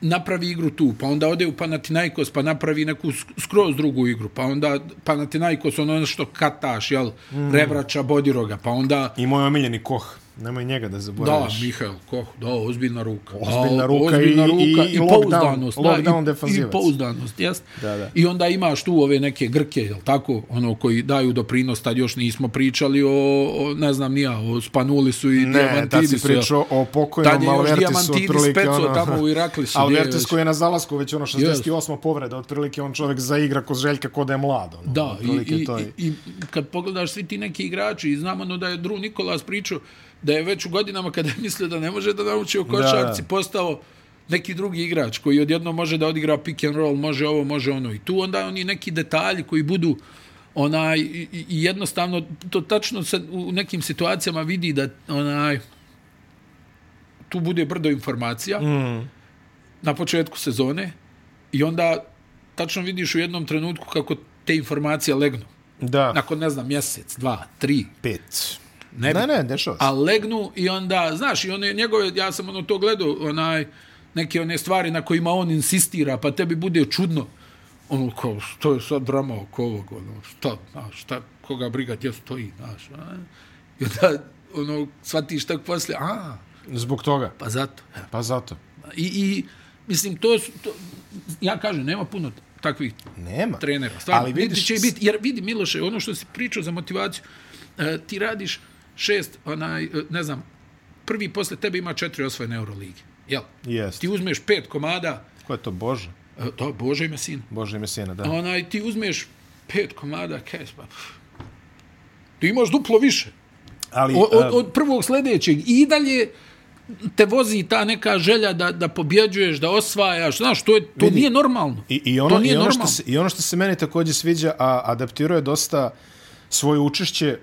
napravi igru tu, pa onda ode u Panathinaikos, pa napravi neku sk- skroz drugu igru, pa onda Panathinaikos ono nešto kataš, jel, mm. Rebrača, Bodiroga, pa onda I moj omiljeni Koh. Nemoj njega da Da, zaboraviš. Mihael Koh, da, ozbiljna ruka. Pa Ozbiljna Da, ruka ozbiljna i- ruka i i, lockdown, pouzdanost. lockdown da, i, defanzivac. I pouzdanost, jes? Da, da. I onda imaš tu ove neke Grke, jel tako, ono koji daju doprinos, tad još nismo pričali o, o ne znam nija, o Spanulisu i Ne, tad si Diamantinisu. jel? pričao o Tad pokojnom je još Alvertisu, Diamantidis otprilike pecao ono... tamo u Iraklisu, gdje je Alvertis već. koji je na zalasku već ono 68. povreda, otprilike on čovjek zaigra ko Željka ko da je mlad. Ono, Da, otprilike i, i, to je. i, i kad pogledaš svi ti neki igrači, i znam ono da je Dru Nikolas pričao da je već u godinama kada je mislio da ne može da nauči o košarci, Da. postao neki drugi igrač koji odjedno može da odigra pick and roll, može ovo, može ono. I tu onda oni neki detalji koji budu onaj, i, i i jednostavno, to tačno se u nekim situacijama vidi da onaj, tu bude brdo informacija mm. na početku sezone i onda tačno vidiš u jednom trenutku kako te informacije legnu. Da. Pa. Nakon, ne znam, mjesec, dva, tri, Pet. ne, Ne, ne, dešava se. a legnu i onda, znaš, i one njegove, ja sam ono to gledao, onaj, neke one stvari na kojima on insistira, pa tebi bude čudno. Ono, kao, što je sad drama oko ovog, ono, šta, znaš, šta, koga briga, gdje stoji, znaš, a? I onda, ono, shvatiš tako poslije, a, Zbog toga. pa zato, evo. Pa zato. I, i mislim, to, su- to, ja kažem, nema puno takvih Nema. trenera. Stvarno, Pa, Ali ali vidiš- vidiš, će i biti, jer vidi Miloše, ono što si pričao za motivaciju, e, ti radiš šest, onaj, e, ne znam, prvi posle tebe ima četiri osvojene Euroligi. Jel? Jest. Ti uzmeš pet komada, Ko je to Bože? e, to Bože ime sin, Bože ime sjena, da. onaj, ti uzmeš pet komada, kaj pa, pff, ti imaš duplo više. Ali, ehm, Od, od, em, od prvog sljedećeg i dalje te vozi ta neka želja da, da pobjeđuješ, da osvajaš, znaš, to, je, to nije normalno. I, i, ono, to nije i, ono što normalno. se, I ono što se meni takođe sviđa, a adaptiruje dosta svoje učešće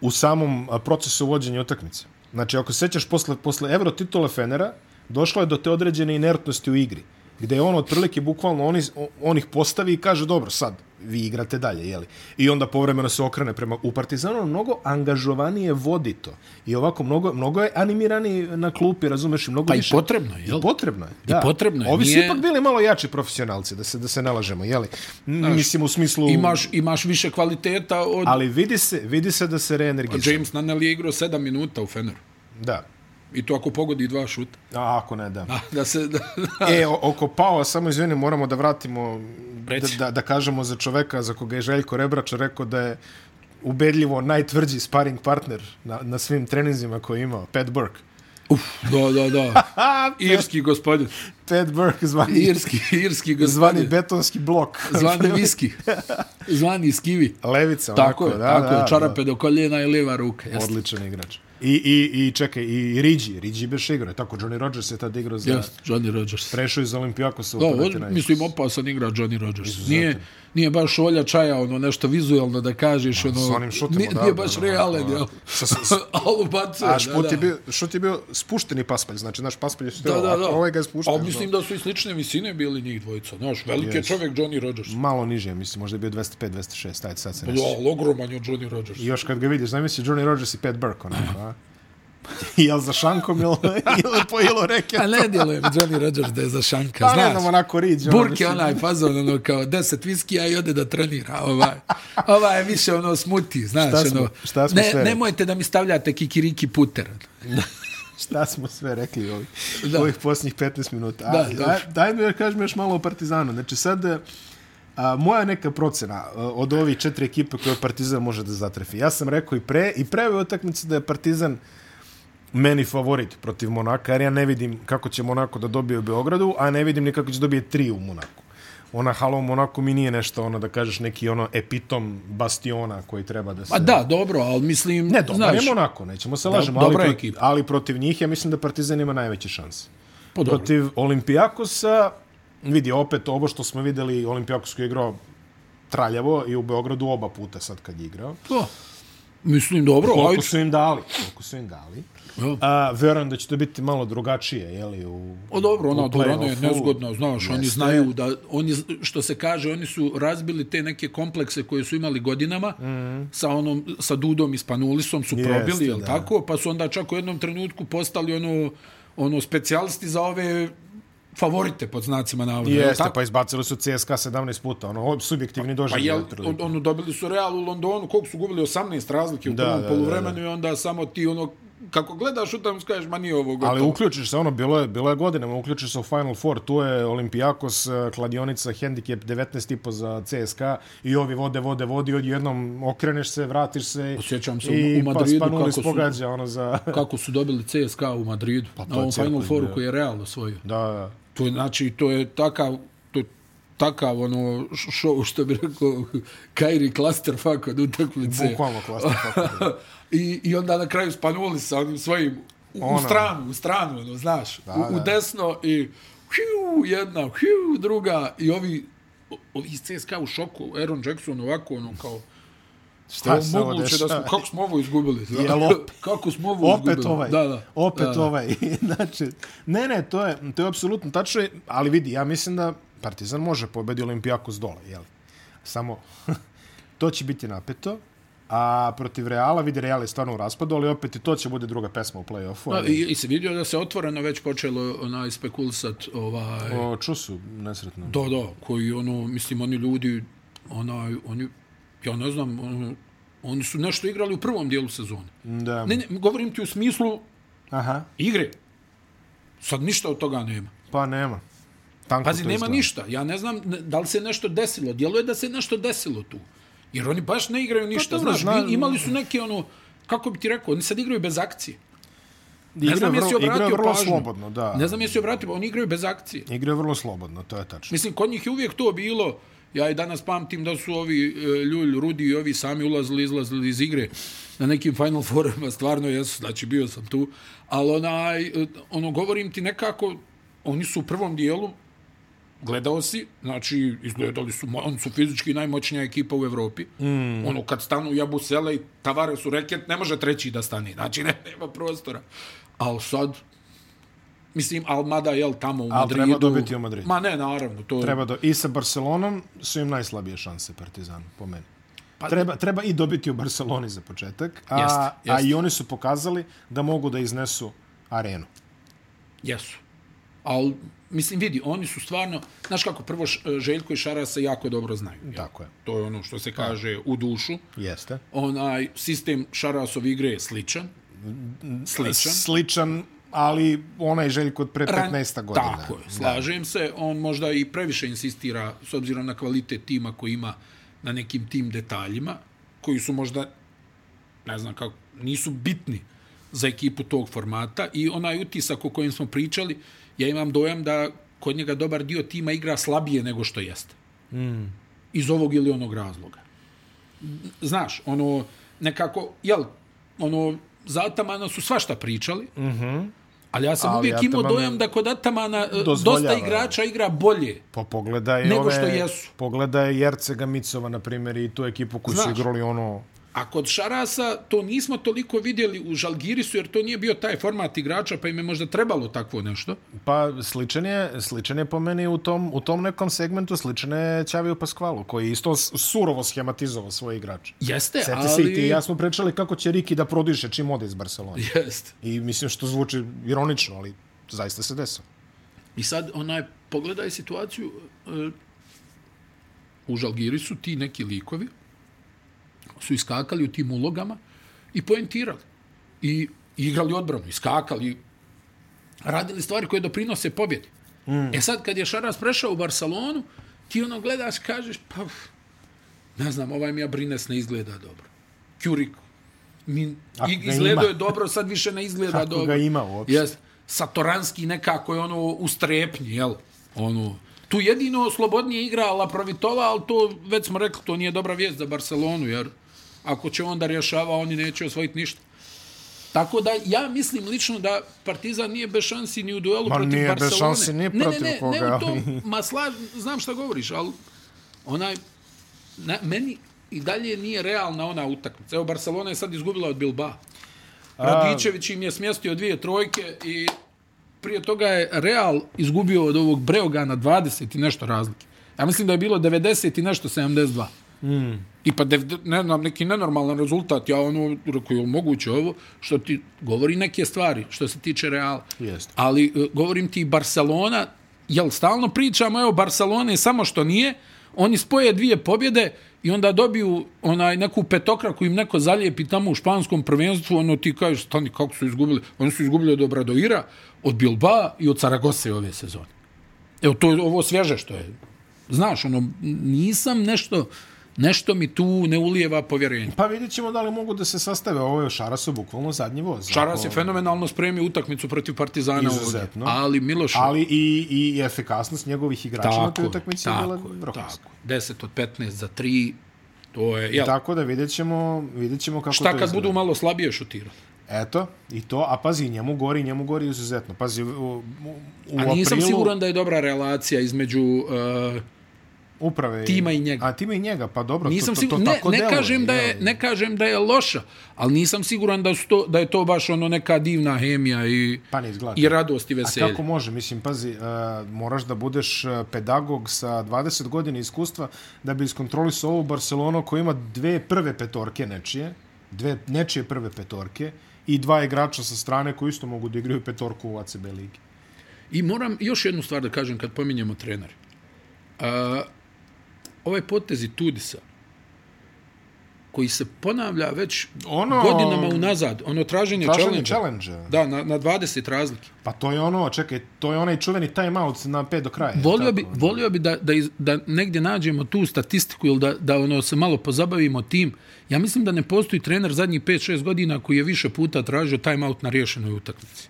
u samom a, procesu vođenja utakmice. Znači, ako se sećaš, posle, posle Euro titula Fenera, došlo je do te određene inertnosti u igri, gde je on otprilike bukvalno on, iz, o- on ih postavi i kaže, dobro, sad, vi igrate dalje, jeli? I onda povremeno se okrene prema... U Partizanu on mnogo angažovanije vodi to. I ovako, mnogo, mnogo je animirani na klupi, razumeš, i mnogo Pa i više... potrebno je, jel? I potrebno je. Da. potrebno je, Ovi su nije- ipak bili malo jači profesionalci, da se da se nalažemo, je li? Mislim u smislu imaš, imaš više kvaliteta od... ali vidi se, vidi se da se reenergizuje. Pa James Nunnell je igrao 7 minuta u Feneru. Da. I to ako pogodi dva šuta. A ako ne, da. Da, da se... Da, da. E, o- oko Paola, samo izvini, moramo da vratimo, da, Reci. da, da kažemo za čoveka za koga je Željko Rebrač rekao da je ubedljivo najtvrđi sparing partner na, na svim treninzima koje je imao, Pat Burke. Uf, da, da, da. A, Irski gospodin. Pat Burke zvani, Irski, irski zvani gospodin. betonski blok. Zvani viski. Zvani skivi. Levica, Tako onako, je, da, tako da, je. da. Čarape do koljena i leva ruka. Jeste. Odličan igrač. I, i, i čekaj, i Riđi, Riđi beš igrao, je tako, Johnny Rodgers je tad igrao za... Jeste, Johnny Rodgers. Prešao iz Olimpijakosa u Da, Panathinaikos. on, mislim, opasan igra Johnny Rodgers. Nije, nije baš olja čaja, ono, nešto vizualno da kažeš, ono, s onim šutem nije, odavde, nije baš ono, realen, ono, jel? sa- sa- A ovo bacuje, A da, šput da. je bio, šut je bio spušteni paspalj, znači naš paspalj je što Da, da, da. ovaj ga je spušten. A mislim da su i slične visine bili njih dvojica. Znaš, veliki je Jesu. čovjek Johnny Rodgers. Malo niže, mislim, možda je bio 205-206, ajde sad se ne Ja, sjećam. ali ogroman je Johnny Rodgers. I još kad ga vidiš, zamisli Johnny Rodgers i Pat Burke, onako, a? Jel za šankom ili, ili po ilu reke? A ne djelujem Johnny Rodgers da je za šanka, Pa ne znaš. znam, onako riđe. Burk je onaj fazon, ono, kao deset viskija i ode da trenira. Ovaj, ovaj je više, ono, smuti, znaš, Šta smo- ono. šta smo ne, sve- nemojte da mi stavljate kikiriki puter. Šta smo sve rekli ovih, da. Da. ovih posljednjih 15 minuta. A, Da, da, dobro. daj, daj mi da kažem još malo o Partizanu. Znači sad, e, a, moja neka procena e, od ovih četiri ekipe koje Partizan može da zatrefi. Ja sam rekao i pre, i pre ove utakmice da je Partizan meni favorit protiv Monaka, jer ja ne vidim kako će Monako da dobije u Beogradu, a ne vidim ni kako će dobije tri u Monaku. Ona halo Monako mi nije nešto ono da kažeš neki ono epitom bastiona koji treba da se... Pa da, dobro, ali mislim, Ne, dobro znaš, je Monako, nećemo se lažemo, dobra ali, je protiv, ekipa. ali protiv njih ja mislim da Partizan ima najveće šanse. Pa dobro. Protiv Olimpijakosa, vidi, opet ovo što smo videli, Olimpijakos koji je igrao traljavo i u Beogradu oba puta sad kad je igrao. to, mislim, dobro, ajde. Koliko su im dali, koliko su im dali. Ja. A, verujem da će to biti malo drugačije, jeli, u O Pa dobro, ona u odbrana je play-offu. nezgodna, znaš, oni Jeste. znaju da, oni, što se kaže, oni su razbili te neke komplekse koje su imali godinama, mm. sa onom, sa Dudom i Spanulisom su Mhm. Jeste, probili, jel da. tako? Pa su onda čak u jednom trenutku postali ono, ono specijalisti za ove favorite pod znacima navoda. jel Jeste, tako? pa izbacili su CSKA 17 puta, ono, subjektivni Pa doživljaj. jel, otprilike. on, ono, dobili su Real u Londonu, koliko su gubili 18 razlike u Da, prvom da, poluvremenu i onda samo ti ono, kako gledaš u tamo, kažeš, ma nije ovo gotovo. Ali uključiš se, ono, bilo je, bilo je godinama, uključiš se u Final Four, tu je Olimpijakos, eh, kladionica, hendikep 19,5 za CSKA i ovi vode, vode, vodi, odjednom okreneš se, vratiš se. Osjećam se u- i u pa Madridu Spanulis kako su- pogađa, ono, za... kako su dobili CSKA u Madridu pa, to na je ovom Final cirkus Fouru bio. koji je Real osvojio. Da, da. To je, znači, to je takav, to je takav ono š- show što bi rekao Kairi Clusterfuck od utakmice. bukvalno klasno. I, I onda na kraju spanuli sa onim svojim u, Ono. u stranu, u stranu, ono, znaš, da, u, da. u desno i hiu, jedna, hiu, druga i ovi o- ovi iz CSKA u šoku, Aaron Jackson ovako ono kao Šta Šta se ovo moguće da smo, dešava? kako smo ovo izgubili? znaš? Jel opet? kako smo ovo Opet izgubili? ovaj. Da, da. Opet da, da. ovaj. znači, ne, ne, to je, to je apsolutno tačno, je, ali vidi, ja mislim da Partizan može pobedi Olimpijakos dole, jeli? Samo to će biti napeto, a protiv Reala, vidi Real je stvarno u raspadu, ali opet i to će bude druga pesma u play-offu. Pa, ali- I, I se vidio da se otvoreno već počelo onaj spekulisat ovaj... O Čusu, nesretno. Da, da, koji ono, mislim, oni ljudi, onaj, oni, ja ne znam, ono, oni su nešto igrali u prvom dijelu sezone. Da. Ne, ne, govorim ti u smislu Aha, igre. Sad ništa od toga nema. pa nema. Tanko Pazi, to nema izgleda. ništa. Ja ne znam ne- da li se nešto desilo. Djeluje da se nešto desilo tu. Jer oni baš ne igraju ništa. Pa dobro, Znaš, zna- mi- imali su neke ono, kako bi ti rekao, oni sad igraju bez akcije. Igra Ne znam je jesi vrlo- igra je obratio vrlo pažnju. slobodno, da. Ne znam jesi obratio, pa oni igraju bez akcije. Igra je vrlo slobodno, to je tačno. Mislim, kod njih je uvijek to bilo. Ja i danas pamtim da su ovi e, Ljulj, Rudi i ovi sami ulazili, izlazili iz igre na nekim Final Fourama, stvarno jesu, znači bio sam tu. Ali onaj, e, ono, govorim ti nekako, oni su u prvom dijelu, gledao si, znači, izgledali su, mo- oni su fizički najmoćnija ekipa u Evropi. Mm. Ono, kad stanu Jabusele i Tavare su reket, ne može treći da stane, znači, ne, nema prostora. Ali sad, Mislim, al mada, jel, tamo u Al Madridu... treba dobiti u Madridu. Ma ne, naravno, to je... Treba do, I sa Barcelonom su im najslabije šanse Partizanu, po meni. Pa- treba, treba i dobiti u Barceloni za početak, a, Jeste, a jeste. i oni su pokazali da mogu da iznesu arenu. Jesu. Ali, mislim, vidi, oni su stvarno, znaš kako, prvo Š- e, Željko i Šara se jako dobro znaju. jel? Tako je. To je ono što se kaže u dušu. Jeste. Onaj sistem Šarasov igre je sličan. Mm, Sličan. Sličan, ali onaj Željko od pre 15 godina. Tako je, slažem da. se. On možda i previše insistira s obzirom na kvalitet tima koji ima na nekim tim detaljima, koji su možda, ne znam kako, nisu bitni za ekipu tog formata i onaj utisak o kojem smo pričali, ja imam dojam da kod njega dobar dio tima igra slabije nego što jeste. Mm. Iz ovog ili onog razloga znaš, ono, nekako, jel, ono, za Atamana su svašta pričali, mm -hmm. ali ja sam Mhm. Ali ali uvijek imao Ataman dojam da kod Atamana e, dozvoljava. dosta igrača igra bolje. Pa pogledaj Nego ove, što jesu. Pogledaj Jercega Micova, na primjer, i tu ekipu koju su Znaš. igrali ono... A kod Šarasa to nismo toliko vidjeli u Žalgirisu, jer to nije bio taj format igrača, pa im je možda trebalo takvo nešto. Pa sličan je, sličan je po meni u tom, u tom nekom segmentu, sličan je Ćaviju Paskvalu, koji je isto s- surovo schematizovao svoje igrače. Jeste, Sjeti ali... se i ti i ja smo pričali kako će Riki da prodiše čim ode iz Barcelona. Jeste. I mislim što zvuči ironično, ali zaista se desilo. I sad, onaj, pogledaj situaciju, e, u Žalgirisu ti neki likovi su iskakali u tim ulogama i poentirali. I igrali odbranu, iskakali, radili stvari koje doprinose pobjedi. Mm. E sad, kad je Šaras prešao u Barcelonu, ti ono gledaš, kažeš, pa, uf, ne znam, ovaj mi Abrines ne izgleda dobro. Kjuriko. Mi, Ako ga izgledao ima. je dobro, sad više ne izgleda Ako dobro. ga ima uopšte. Jest. Satoranski nekako je ono u strepnji, jel? Ono, tu jedino slobodnije igra Laprovitola, ali to već smo rekli, to nije dobra vijest za Barcelonu, jer ako će onda rješava, oni neće osvojiti ništa. Tako da ja mislim lično da Partizan nije bez šansi ni u duelu Ma, protiv nije bez Barcelone. šansi ni protiv ne, ne, koga, Ne, ne, u ali- tom, ma slaž, znam šta govoriš, ali onaj, na, meni i dalje nije realna ona utakmica. Evo, Barcelona je sad izgubila od Bilba. Radićević im je smjestio dvije trojke i prije toga je Real izgubio od ovog Breogana 20 i nešto razlike. Ja mislim da je bilo 90 i nešto 72. I pa dev, ne znam, neki nenormalan rezultat, ja ono, rekao, je moguće ovo, što ti govori neke stvari, što se tiče Reala. Jeste. Ali e, govorim ti Barcelona, jel stalno pričamo, evo, Barcelona je samo što nije, oni spoje dvije pobjede i onda dobiju onaj neku petokraku im neko zalijepi tamo u španskom prvenstvu, ono ti kažeš, stani, kako su izgubili? Oni su izgubili od Obradoira, od Bilba i od Saragose ove sezone. Evo, to je ovo svježe što je. Znaš, ono, nisam nešto, nešto mi tu ne ulijeva povjerenje. Pa vidjet ćemo da li mogu da se sastave. Ovo je Šarasu bukvalno zadnji voz. Čaras je fenomenalno spremio utakmicu protiv Partizana ovdje. Izuzetno. Ali Miloš... Ali i, i efikasnost njegovih igrača na toj utakmici je bila vrhunska. tako. je. 10 od 15 za 3, to je... Jel, Tako da vidjet ćemo, vidjet ćemo kako šta to kad izgleda. budu malo slabije šutirali? Eto, i to, a pazi, njemu gori, njemu gori izuzetno. Pazi, u, u, u A nisam aprilu... siguran da je dobra relacija između uh, uprave... i- Tima i njega. A tima i njega, pa dobro, Nisam to, to, to, siguran, ne, tako ne deluje, kažem da je jel? ne kažem da je loša, ali nisam siguran da su to da je to baš ono neka divna hemija i Pa ne izgleda. i radost i A veselje. kako može? Mislim, pazi, uh, moraš da budeš uh, pedagog sa 20 godina iskustva da bi iskontrolisao ovu Barcelonu koja ima dve prve petorke nečije, dve nečije prve petorke i dva igrača sa strane koji isto mogu da igraju petorku u ACB ligi. E, I moram još jednu stvar da kažem kad pominjemo trenere. A, ovaj potez i Tudisa, koji se ponavlja već Ono- ono, godinama unazad, ono traženje, Traženje traženje challenge. Da, na, na 20 razlike. Pa to je ono, čekaj, to je onaj čuveni timeout na pet do kraja. tako? Volio bi, volio bi da, da, iz, da negdje nađemo tu statistiku ili da, da ono se malo pozabavimo tim. Ja mislim da ne postoji trener zadnjih 5-6 godina koji je više puta tražio timeout na rješenoj utakmici.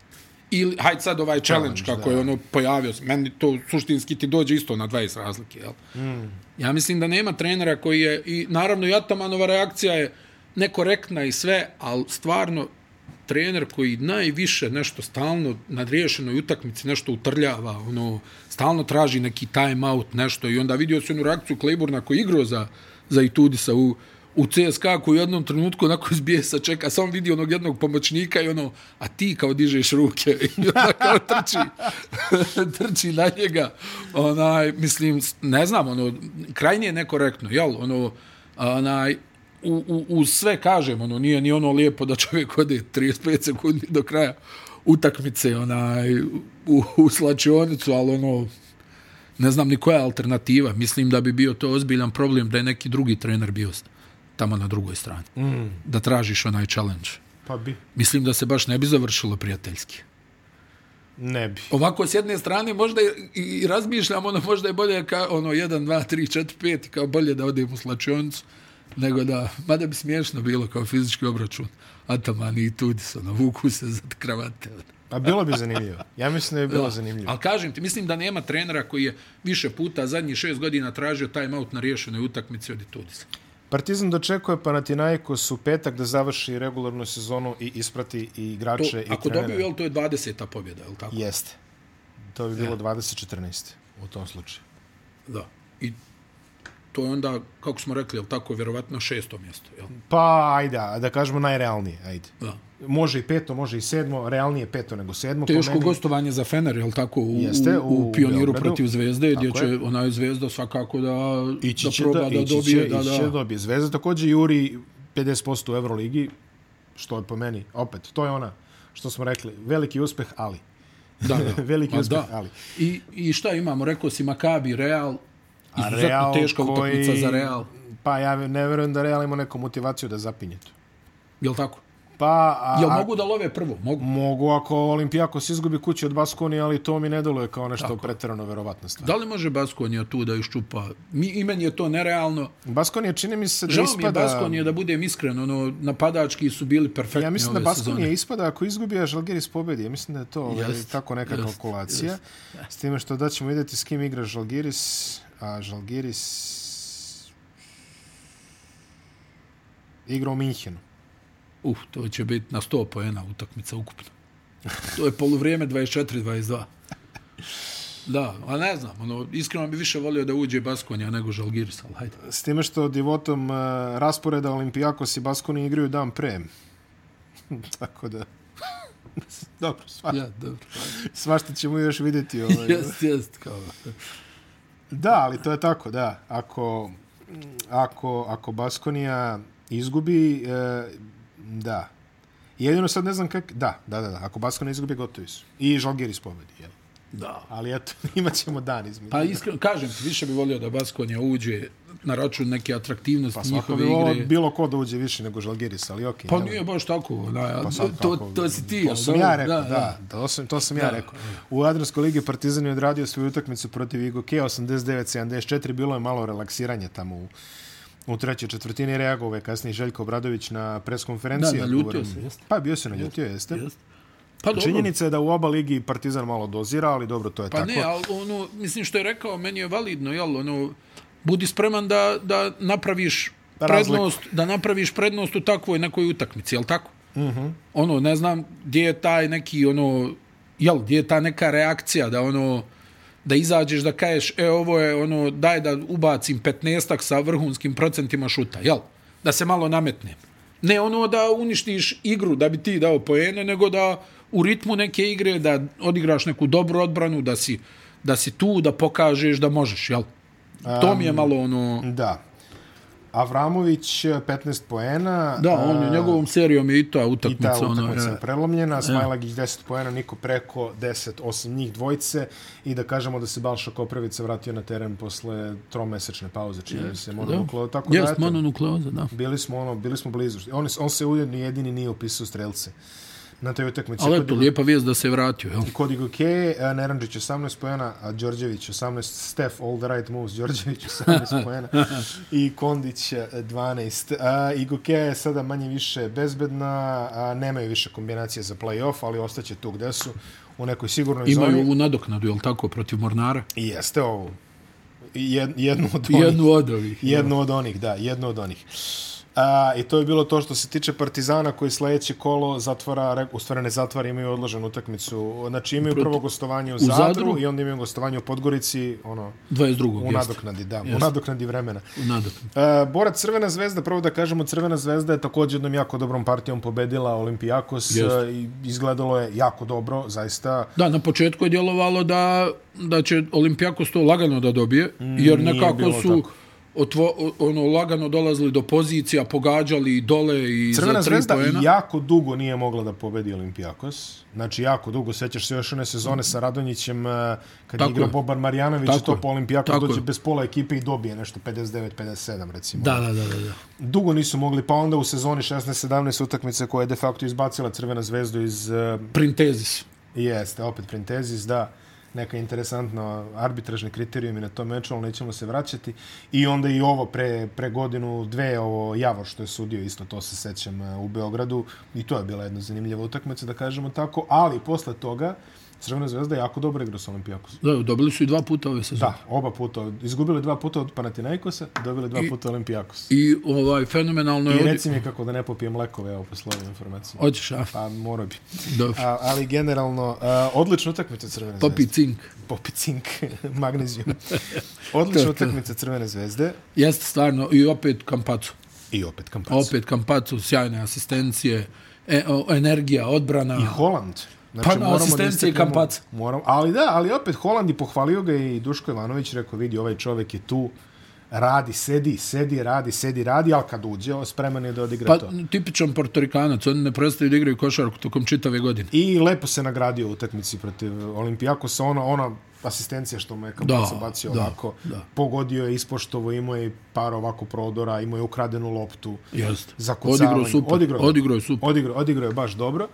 Ili, hajde sad ovaj challenge, kako je ono pojavio se. Meni to suštinski ti dođe isto na 20 razlike, jel? Mm. Ja mislim da nema trenera koji je, i naravno i Atamanova reakcija je nekorektna i sve, ali stvarno trener koji najviše nešto stalno na riješenoj utakmici nešto utrljava, ono, stalno traži neki time out, nešto i onda vidio se onu reakciju Klejborna koji je igrao za, za Itudisa u, u CSKA koji u jednom trenutku onako iz bijesa čeka, samo vidi onog jednog pomoćnika i ono, a ti kao dižeš ruke i onda kao trči, trči na njega. Onaj, mislim, s- ne znam, ono, krajnije je nekorektno, jel? Ono, onaj, u, u, u sve kažem, ono, nije ni ono lijepo da čovjek ode 35 sekundi do kraja utakmice, onaj, u, u slačionicu, ali ono, ne znam ni koja je alternativa. Mislim da bi bio to ozbiljan problem da je neki drugi trener bio s- tamo na drugoj strani. Mm. Da tražiš onaj challenge. Pa bi. Mislim da se baš ne bi završilo prijateljski. Ne bi. Ovako, s jedne strane, možda i, i razmišljam, ono, možda je bolje ka, ono, 1, 2, 3, 4, 5, kao bolje da odem u slačionicu, nego da, mada bi smiješno bilo kao fizički obračun. Ataman i Tudis, ono, vuku se za kravate. Ono. Pa bilo bi zanimljivo. Ja mislim da bi bilo zanimljivo. Ali kažem ti, mislim da nema trenera koji je više puta zadnjih šest godina tražio timeout na riješenoj utakmici od Itudisa. Partizan dočekuje Panathinaikos u petak da završi regularnu sezonu i isprati i To, igrače i ako trenere. dobiju, jel, to je 20. pobjeda, jel tako? Jeste. To bi bilo 2014. u tom slučaju. Da. I to je onda, kako smo rekli, jel tako, vjerovatno šesto mjesto, jel? Pa, ajde, a da kažemo najrealnije, ajde. Da. Može i peto, može i sedmo, realnije peto nego sedmo. po Teško meni. gostovanje za Fener, jel tako, u, Jeste, Jeste, u u, u pioniru Beogradu. protiv Zvezde, gdje Tako će je. ona Zvezda svakako da, Ići da će proba da, da, ići će, dobije. da, ići će da. da dobije. Zvezda također juri 50% u Euroligi, što je po meni, opet, to je ona što smo rekli, veliki uspeh, ali. Da, da. Veliki Ma uspeh, da. ali. I, I šta imamo? Rekao si Makabi, Real, A izuzetno Real teška koji- utakmica za Real, Pa ja ne verujem da Real ima neku motivaciju da zapinje to. jel tako? Pa, a, Jel a- mogu da love prvo? Mogu. Mogu ako Olimpijakos izgubi kući od Baskoni, ali to mi ne deluje kao nešto Tako. pretjerano verovatna stvar. Da li može Baskonija tu da iščupa? Mi, I meni je to nerealno. Baskoni je, čini mi se da Žao mi je ispada... Baskonija, da budem iskren, ono, napadački su bili perfektni Ja mislim da ove Baskoni sezone. je ispada ako izgubi, a Žalgiris pobedi. Ja mislim da je to ovaj, Jest, tako neka jest, kalkulacija. jest. S time što da ćemo vidjeti s kim igra Žalgiris, a Žalgiris igra u Minhenu. Uf, to će biti na 100 poena utakmica ukupno. To je poluvrijeme 24-22. Da, a ne znam, ono, iskreno bi više volio da uđe Baskonija nego Žalgiris, ali hajde. S time što divotom uh, rasporeda Olimpijakos i Baskoni igraju dan pre. tako da... Dobro, sva, Ja, dobro. svašta ćemo još vidjeti. Ovaj. Jest, jest, kao. Da, ali to je tako, da. Ako, ako, ako Baskonija izgubi, e, da. Jedino sad ne znam kak... Da, da, da, da. Ako Baskonija izgubi, gotovi su. I Žalgiris pobedi, jel? Da. Ali eto, imat ćemo dan između. Pa iskreno, kažem ti, više bi volio da Baskonija uđe na račun neke atraktivnosti pa, Svako njihove bi volao igre. bilo ko da uđe više nego Žalgiris, ali okej. Pa jel? nije baš tako, da, Pa to, sad to, kako- to si ti. To ali sam dobro, ja rekao, da. da. To sam, to sam ja Da. rekao. U Adranskoj ligi Partizan je odradio svoju utakmicu protiv Igoke 89-74. Bilo je malo relaksiranje tamo u, u trećoj četvrtini. Reagovao je kasnije Željko Obradović na preskonferenciji. Da, naljutio Odgovoran- se, jeste. Pa bio se naljutio, jeste. Jest. Pa dobro, Činjenica je da u oba ligi Partizan malo dozira, ali dobro, to je Pa tako. ne, ali ono, mislim što je rekao, meni je validno, jel, ono, budi spreman da, da napraviš Razliku. prednost, da napraviš prednost u takvoj nekoj utakmici, jel tako? Uh -huh. Ono, ne znam, gdje je taj neki, ono, jel, gdje je ta neka reakcija da ono, da izađeš da kažeš, e, ovo je ono, daj da ubacim 15-ak sa vrhunskim procentima šuta, jel? Da se malo nametnem. Ne ono da uništiš igru da bi ti dao poene, nego da u ritmu neke igre, da odigraš neku dobru odbranu, da si, da si tu, da pokažeš da možeš, jel? To mi je malo ono... Da. Avramović, 15 poena. Da, on je njegovom serijom je i ta I ta utakmica. ono, utakmica je. je prelomljena, Smajlagić 10 poena, niko preko 10, osim njih dvojice i da kažemo da se Balša Koprivica vratio na teren posle tromesečne pauze, čini mi se, mononukleoza, tako da Jest, eto, mononukleoza, da. bili smo ono, bili smo blizu. On, on se ujedno jedini nije upisao strelce na toj utakmici. Ali Kod eto, lijepa vijest da se vratio, jel? Kod Igoke, e, Neranđić 18 poena, a Đorđević 18, Steph all the right moves, Đorđević 18 poena i Kondić e, 12. A, Igoke je sada manje više bezbedna, a, nemaju više kombinacije za play-off, ali ostaće tu gde su, u nekoj sigurnoj Imaju zoni. ovu nadoknadu, jel tako, protiv Mornara? I jeste ovo. Jed, jednu od onih. Jednu od ovih. Jedno od onih, da, jedno od onih. A, I to je bilo to što se tiče Partizana koji sledeće kolo zatvara, re- u stvari ne zatvara, imaju odloženu utakmicu. Znači imaju prvo gostovanje u, Zadru, Zadru. i onda imaju gostovanje u Podgorici, ono, 22. u jeste, nadoknadi, da, u nadoknadi vremena. u nadoknadu. E, Borac Crvena zvezda, prvo da kažemo, Crvena zvezda je također jednom jako dobrom partijom pobedila Olimpijakos Jest. e, i izgledalo je jako dobro, zaista. Da, na početku je djelovalo da, da će Olimpijakos to lagano da dobije, jer Mm, nije bilo nekako su tako. otvo, o- ono, lagano dolazili do pozicija, pogađali i dole i Crvena za tri zvezda poena. jako dugo nije mogla da pobedi Olimpijakos. Znači, jako dugo. Sećaš se još one sezone sa Radonjićem, eh, kad je Tako igrao je. Boban Marjanović, Tako to je. po Olimpijakos Tako dođe je. bez pola ekipe i dobije nešto 59-57, recimo. Da, da, da, da. da. Dugo nisu mogli, pa onda u sezoni 16-17 utakmice koja je de facto izbacila Crvena zvezdu iz... eh, Printezis. Jeste, opet Printezis, da neka interesantna arbitražni kriterijumi na tom meču, ali nećemo se vraćati. I onda i ovo pre, pre godinu, dve, ovo Javor što je sudio, isto to se sećam e, u Beogradu. I to je bila jedna zanimljiva utakmica, da kažemo tako. Ali posle toga, Crvena zvezda je jako dobro igra sa Olimpijakosom. Da, dobili su i dva puta ove sezone. Da, oba puta. Izgubili dva puta od Panathinaikosa, dobili dva puta Olimpijakos. I ovaj, fenomenalno je... I ovdje- reci mi kako da ne popijem lekove, evo, posle ove informacije. Hoćeš, a? Pa morao bi. Dobro. A, ali generalno, a, odlična utakmica Crvene zvezde. Popi cink. Popi cink, magnezijum. Odlična utakmica Crvene zvezde Jeste stvarno, i opet Kampacu. i opet kampac. Opet Kampacu, sjajne asistencije, e, o, energija, odbrana. I Holand. Znači, Pa na moramo asistencije istaknemo- i Kampac. Moram, ali da, ali opet Holand i pohvalio ga je i Duško Ivanović rekao, vidi, ovaj čovek je tu, radi, sedi, sedi, radi, sedi, radi, ali kad uđe, spreman je da odigra Pa, to. tipičan portorikanac, oni ne prestaju da igraju košarku tokom čitave godine. I lepo se nagradio u utakmici protiv Olimpijakosa, ona, ona asistencija što mu je Kampac Da, bacio da, ovako. da. Pogodio je ispoštovo, imao je par ovako prodora, imao je ukradenu loptu. Jeste. zakucavanje. Odigrao super. Odigrao, je. Odigrao je super. Odigrao, odigrao je baš dobro.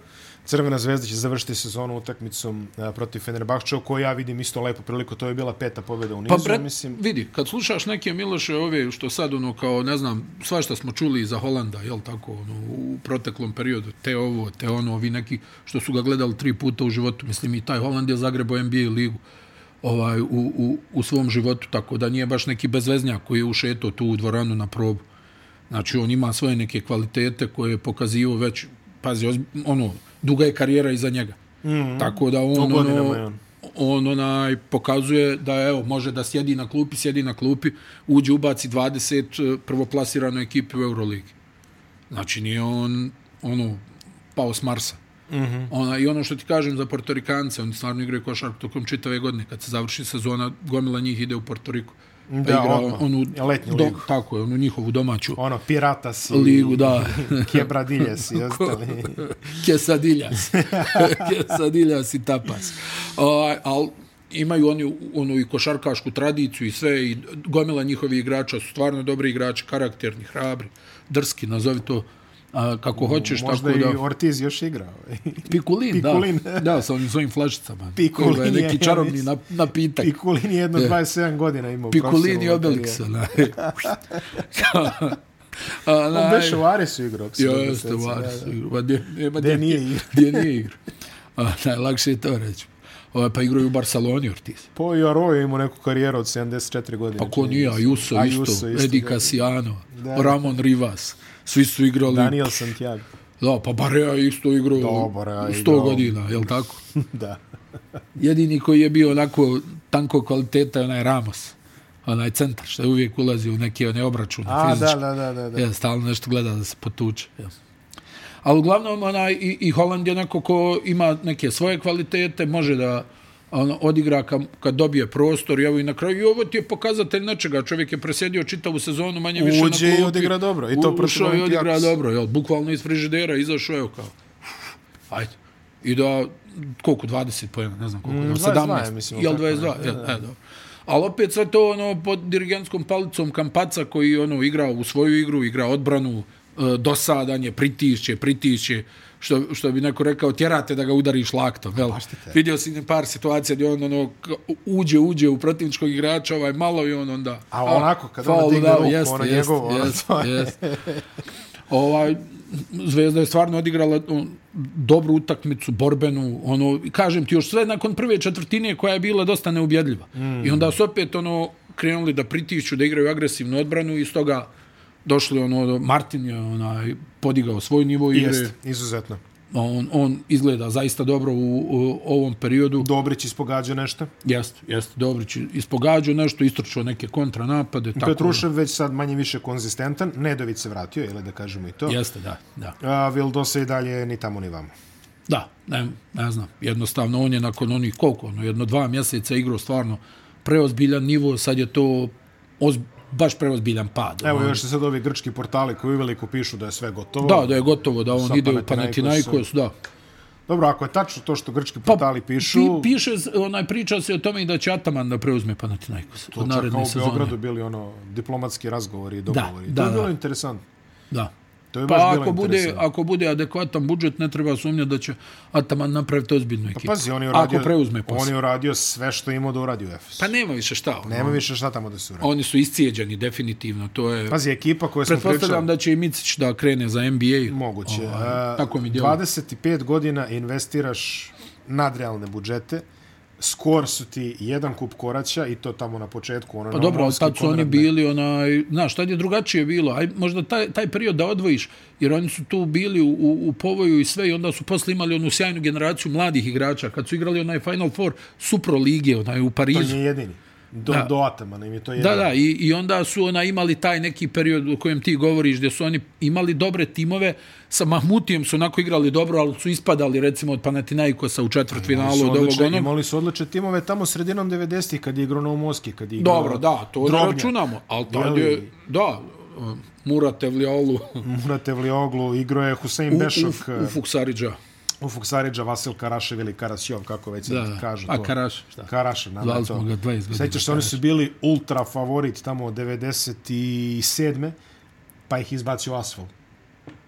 Crvena zvezda će završiti sezonu utakmicom e, protiv Fenerbahča, koju ja vidim isto lepo priliku. To je bila peta pobjeda u nizu, Pa brat, mislim. vidi, kad slušaš neke Miloše ove što sad ono kao, ne znam, svašta smo čuli za Holanda, jel tako, ono, u proteklom periodu, te ovo, te ono, ovi neki što su ga gledali tri puta u životu, mislim i taj Holand je zagrebo NBA ligu ovaj, u, u, u svom životu, tako da nije baš neki bezveznjak koji je ušeto tu u dvoranu na probu. Znači, on ima svoje neke kvalitete koje je pokazio već, pazi, ozb- ono, duga je karijera iza njega. Mhm. Mm. Tako da on, godinama ono, je on. on onaj pokazuje da evo može da sjedi na klupi, sjedi na klupi, uđe ubaci 20 prvoplasiranoj ekipi u Euroligi. Znači nije on ono pao s Marsa. Mhm. Ona i ono što ti kažem za Portorikance, oni stvarno igraju košarku tokom čitave godine, kad se završi sezona, gomila njih ide u Portoriku. Pa Da, odmah. Letnju do, ligu. tako je, onu njihovu domaću Ono, pirata si, ligu, da. kebradilje si, jeste li? Kesadiljas. Kesadiljas i tapas. Ovaj, al imaju oni onu i košarkašku tradiciju i sve i gomila njihovi igrača su stvarno dobri igrači, karakterni, hrabri, drski, nazovi to a, kako hoćeš, Možda tako i da... Ortiz još igra. ovaj. Pikulin, Pikulin. da. Da, sa onim svojim flašicama. Pikulin Koji je je, neki ja čarobni mislim. na, napitak. Pikulin je jedno 27 godina imao. u Pikulin i profesionalnoj Obelix. karijeri. onaj. Onaj- On beše u Aresu igrao. ako se dobro Jeste, sećam, u da, Arsu. Ma gdje, nema Gdje gdje nije igra. Gdje nije igra. A, najlakše je to reći. O, pa igraju u Barceloni Ortiz. Po i Aro je imao neku karijeru od 74 godine. Pa ko nije, Ayuso, Ayuso isto, isto, Edi da. Casciano, Ramon Rivas. Svi su igrali. Daniel Santiago. Da, pa Barea je isto igrao Da, Barea je 100 igrao. godina, jel tako? da. Jedini koji je bio onako tanko kvaliteta je onaj Ramos, onaj centar, što je uvijek ulazi u neke one obračune A, da, fizičke. da, da, da. da. Ja, stalno nešto gleda da se potuče. Ja. Ali uglavnom, onaj, i, i Holland je neko ko ima neke svoje kvalitete, može da ono, odigra kad, kad dobije prostor i ovo i na kraju. I ovo ti je pokazatelj nečega. Čovjek je presjedio čitavu sezonu manje više Uđe i na klupi. odigra dobro. I to U- protiv Ušao i odigra Olimpijakosa. dobro. Jel, bukvalno iz frižidera izašao je kao, ajde. I da, koliko, 20 pojena, ne znam koliko, 22 mm, je, 17, mislim, jel tako 22, jel, e, dobro. Ali opet sve to ono pod dirigentskom palicom Kampaca koji ono igra u svoju igru, igra odbranu, e, dosadan je, pritišće, pritišće, što, što bi neko rekao, tjerate da ga udariš laktom. Jel? Vidio si ne par situacija gdje on ono, k- uđe, uđe u protivničkog igrača, ovaj malo i on onda... A onako, kad ono faul digne dao, ruku, ono njegovo, ono, Jeste, to je- jeste. Ovaj, Zvezda je stvarno odigrala um, dobru utakmicu, borbenu, ono, kažem ti, još sve nakon prve četvrtine koja je bila dosta neubjedljiva. Mm. I onda su opet ono, krenuli da pritišću, da igraju agresivnu odbranu i stoga došli ono, do- Martin je onaj, podigao svoj nivo igre. Jeste, izuzetno. On, on izgleda zaista dobro u, u ovom periodu. Dobrić ispogađa nešto. Jeste, jeste, Dobrić ispogađao nešto, istročio neke kontranapade. Tako, Petrušev već sad manje više konzistentan. Nedović se vratio, jel da kažemo i to. Jeste, da, da. A Vildosa i dalje ni tamo ni vamo. Da, ne, ne znam, jednostavno on je nakon onih koliko, ono, jedno dva mjeseca igrao stvarno preozbiljan nivo, sad je to oz, baš preozbiljan pad. Evo ono. još se sad ovi grčki portali koji uveliko pišu da je sve gotovo. Da, da je gotovo da on Sa ide u Panathinaikosom. Panathinaikos, da. Dobro, ako je tačno to što grčki portali pišu, Pa, Pi, piše, z- onaj, priča se o tome i da će Ataman da preuzme Panathinaikos od to čak kao naredne u sezone. Beogradu bili ono diplomatski razgovori i dogovori. da, to je bilo da. interesantno. Da. To je Pa baš bilo ako bude, interesantno. ako bude adekvatan budžet, ne treba sumnjati da će Ataman napraviti ozbiljnu ekipu. Pa Pazi, on je uradio, ako preuzme on posao. je uradio sve što je imao da uradi u Efesu. Pa nema više šta. Ono. Nema više šta tamo da se uradi. Oni su iscijeđeni, definitivno. To je... Pazi, ekipa koja smo pričali, Pretpostavljam da će i Micić da krene za NBA. moguće. Ovaj, E, tako mi djeluje. 25 godina investiraš nadrealne budžete, skor su ti jedan kup koraća i to tamo na početku. Ono, Pa dobro, tad su oni bili onaj, znaš, tad je drugačije bilo. Aj, možda taj, taj period da odvojiš, jer oni su tu bili u, u, u povoju i sve i onda su posle imali onu sjajnu generaciju mladih igrača. Kad su igrali onaj Final Four Supro Lige, onaj To u Parizu. je jedini. Do, Da. do Atamana im je to jedini. Da, da, i, i onda su ona imali taj neki period o kojem ti govoriš, gdje su oni imali dobre timove, sa Mahmutijem su onako igrali dobro, ali su ispadali recimo od Panathinaikosa u četvrtfinalu, od ovog odlične, onog. imali su odlične timove tamo sredinom 90-ih kad je igrao Novomoski, kad je igrao Dobro, da, to Drobnja. ne Drobnjak, računamo, ali tad Jeli? je, da, uh, Mura Tevljaolu, Murat Evlioglu, igrao je Husein Bešok, Uf, Ufuksariđa, Ufuk Saridža, Vasil Karašev ili Karasjov, kako već da, da, kažu to. a Karaš, šta? Karašev, nama Zvali je smo to. ga 20 godina. Sećaš se, oni su bili ultra favorit tamo od 97. pa ih izbacio asfalt.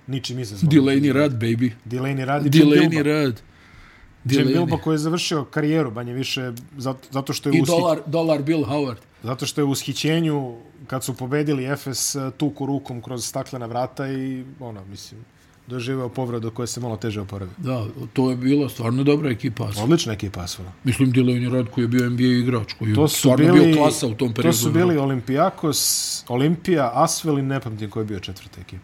Ničim izazvan. Delaney Rad, baby. Delaney Rad i Jim Delaney Bilba. Rad. Jim Delaney. Bilba koji je završio karijeru, banje više, zato, zato što je I ushit- dolar, dolar Bill Howard. Zato što je u ushićenju, kad su pobedili Efes, eh, tuku rukom kroz staklena vrata i, ono, mislim, doživeo povredu koje se malo teže oporavi. Da, to je bila stvarno dobra ekipa. Odlična ekipa Asfala. Mislim Delaney Rad koji je bio NBA igrač, koji je To su stvarno bili, bio klasa u tom periodu. ono. To su bili Olimpijakos, Olimpija, Asvel i ne pamtim koji je bio četvrta ekipa.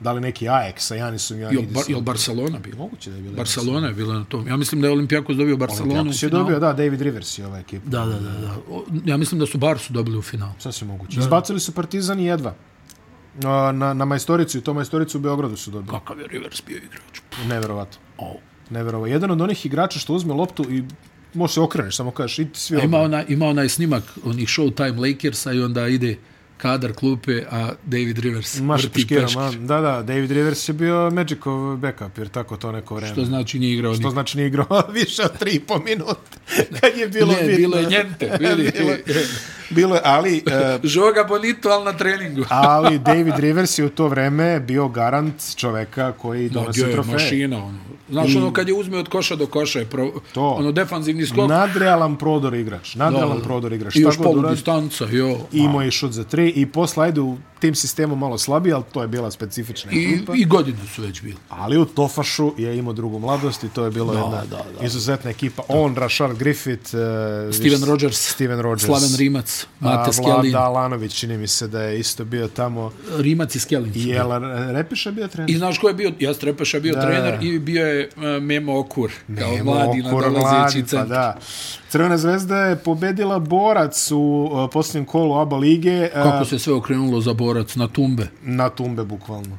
Da li neki Ajax, a Janisom, ja Jel, bar, jel Barcelona bilo? Moguće da je bilo. Barcelona je bila na tom. Ja mislim da je Olimpijakos dobio Barcelonu. u Olimpijakos je finalu. dobio, da, David Rivers je ova ekipa. Da, da, da. da. O, Ja mislim da su Barsu dobili u finalu. Sasvim moguće. Izbacili su Partizan i jedva. Na, na, na majstoricu i to majstoricu u Beogradu su dobili. Kakav je Rivers bio igrač. Neverovatno. O. Neverovo. Jedan od onih igrača što uzme loptu i može se okreneš, samo kažeš, idi svi pa Ima, obrani. ona, ima onaj snimak onih Showtime Lakersa i onda ide kadar klupe, a David Rivers Maš vrti piškira, peške. ma. Da, da, David Rivers je bio Magicov backup, jer tako to neko vreme. To znači nije igrao Što nikad. znači nije igrao više od 3,5 minuta. Kad je bilo Ne, bitno. bilo je njente. Bili, bilo, bilo je, ali, e, Žoga bonito, ali na treningu. ali David Rivers je u to vreme bio garant čoveka koji donosi Bio je trofeje. mašina. Ono. Znaš, ono kad je uzme od koša do koša, je pro, Mm. To. ono defanzivni skok. Nadrealan prodor igrač. Nadrealan Da. prodor igrač. I Šta još god polu uradi, distanca, jo. imao je šut za tri i posle ajde u tim sistemom malo slabiji, ali to je bila specifična I, ekipa. i godine su već bili. Ali u Tofašu je imao drugu mladost i to je bilo jedna da, izuzetna ekipa. On, Rashard Griffith, uh, Steven Rogers, Steven Rogers. Slaven Rimac, A, Mate Skelin. Pa, Vlada Alanović, čini mi se da je isto bio tamo. Rimac i Skelin. su. Jel, Repiša bio trener? I znaš ko je bio? Ja Strepaša bio Da. trener i bio je e, Memo Okur, kao Evo, mladi Okuro, nadalazeći Pa centar. da. Crvena zvezda je pobedila Borac u uh, posljednjem kolu ABA lige uh, Kako se sve okrenulo za borac na tumbe. na tumbe bukvalno.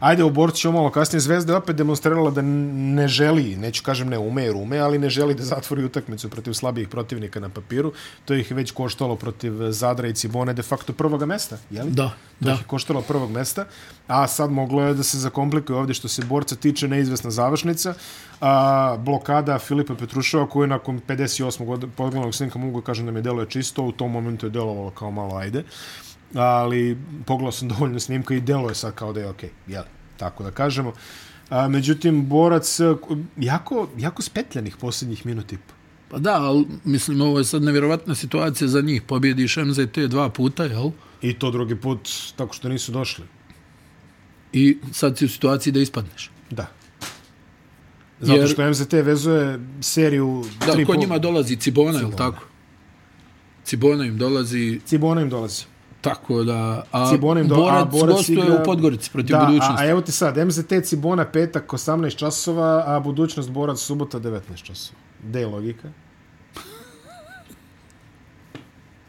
Ajde, u Borcu ćemo malo kasnije. Zvezda je opet demonstrirala da n- ne želi, neću kažem ne ume jer ume, ali ne želi da zatvori utakmicu protiv slabijih protivnika na papiru. To ih je već koštalo protiv Zadra i Cibone de facto prvoga mesta, je li? Da, To da. ih je koštalo prvog mesta, a sad moglo je da se zakomplikuje ovdje što se borca tiče neizvesna završnica, a, blokada Filipa Petruševa koji nakon 58. godina poglednog snimka mogu da kažem da mi deluje čisto, u tom momentu je delovalo kao malo ajde, ali pogledao sam dovoljno snimka i deluje sad kao da je okej, okay, jel, tako da kažemo. A, međutim, borac a, jako, jako spetljanih posljednjih minut i po. Pa da, ali mislim, ovo je sad nevjerovatna situacija za njih. Pobjediš MZT dva puta, jel? I to drugi put tako što nisu došli. I sad si u situaciji da ispadneš. Da. Zato Jer- što MZT vezuje seriju Da, tri kod po- njima dolazi Cibona, jel tako? Cibona im dolazi Cibona im dolazi. tako da... A Cibona im do- a borac, Borac gostuje igra- u Podgorici protiv da, budućnosti. A, a evo ti sad, MZT Cibona petak 18 časova, a budućnost Borac subota 19 časova. Gde je logika?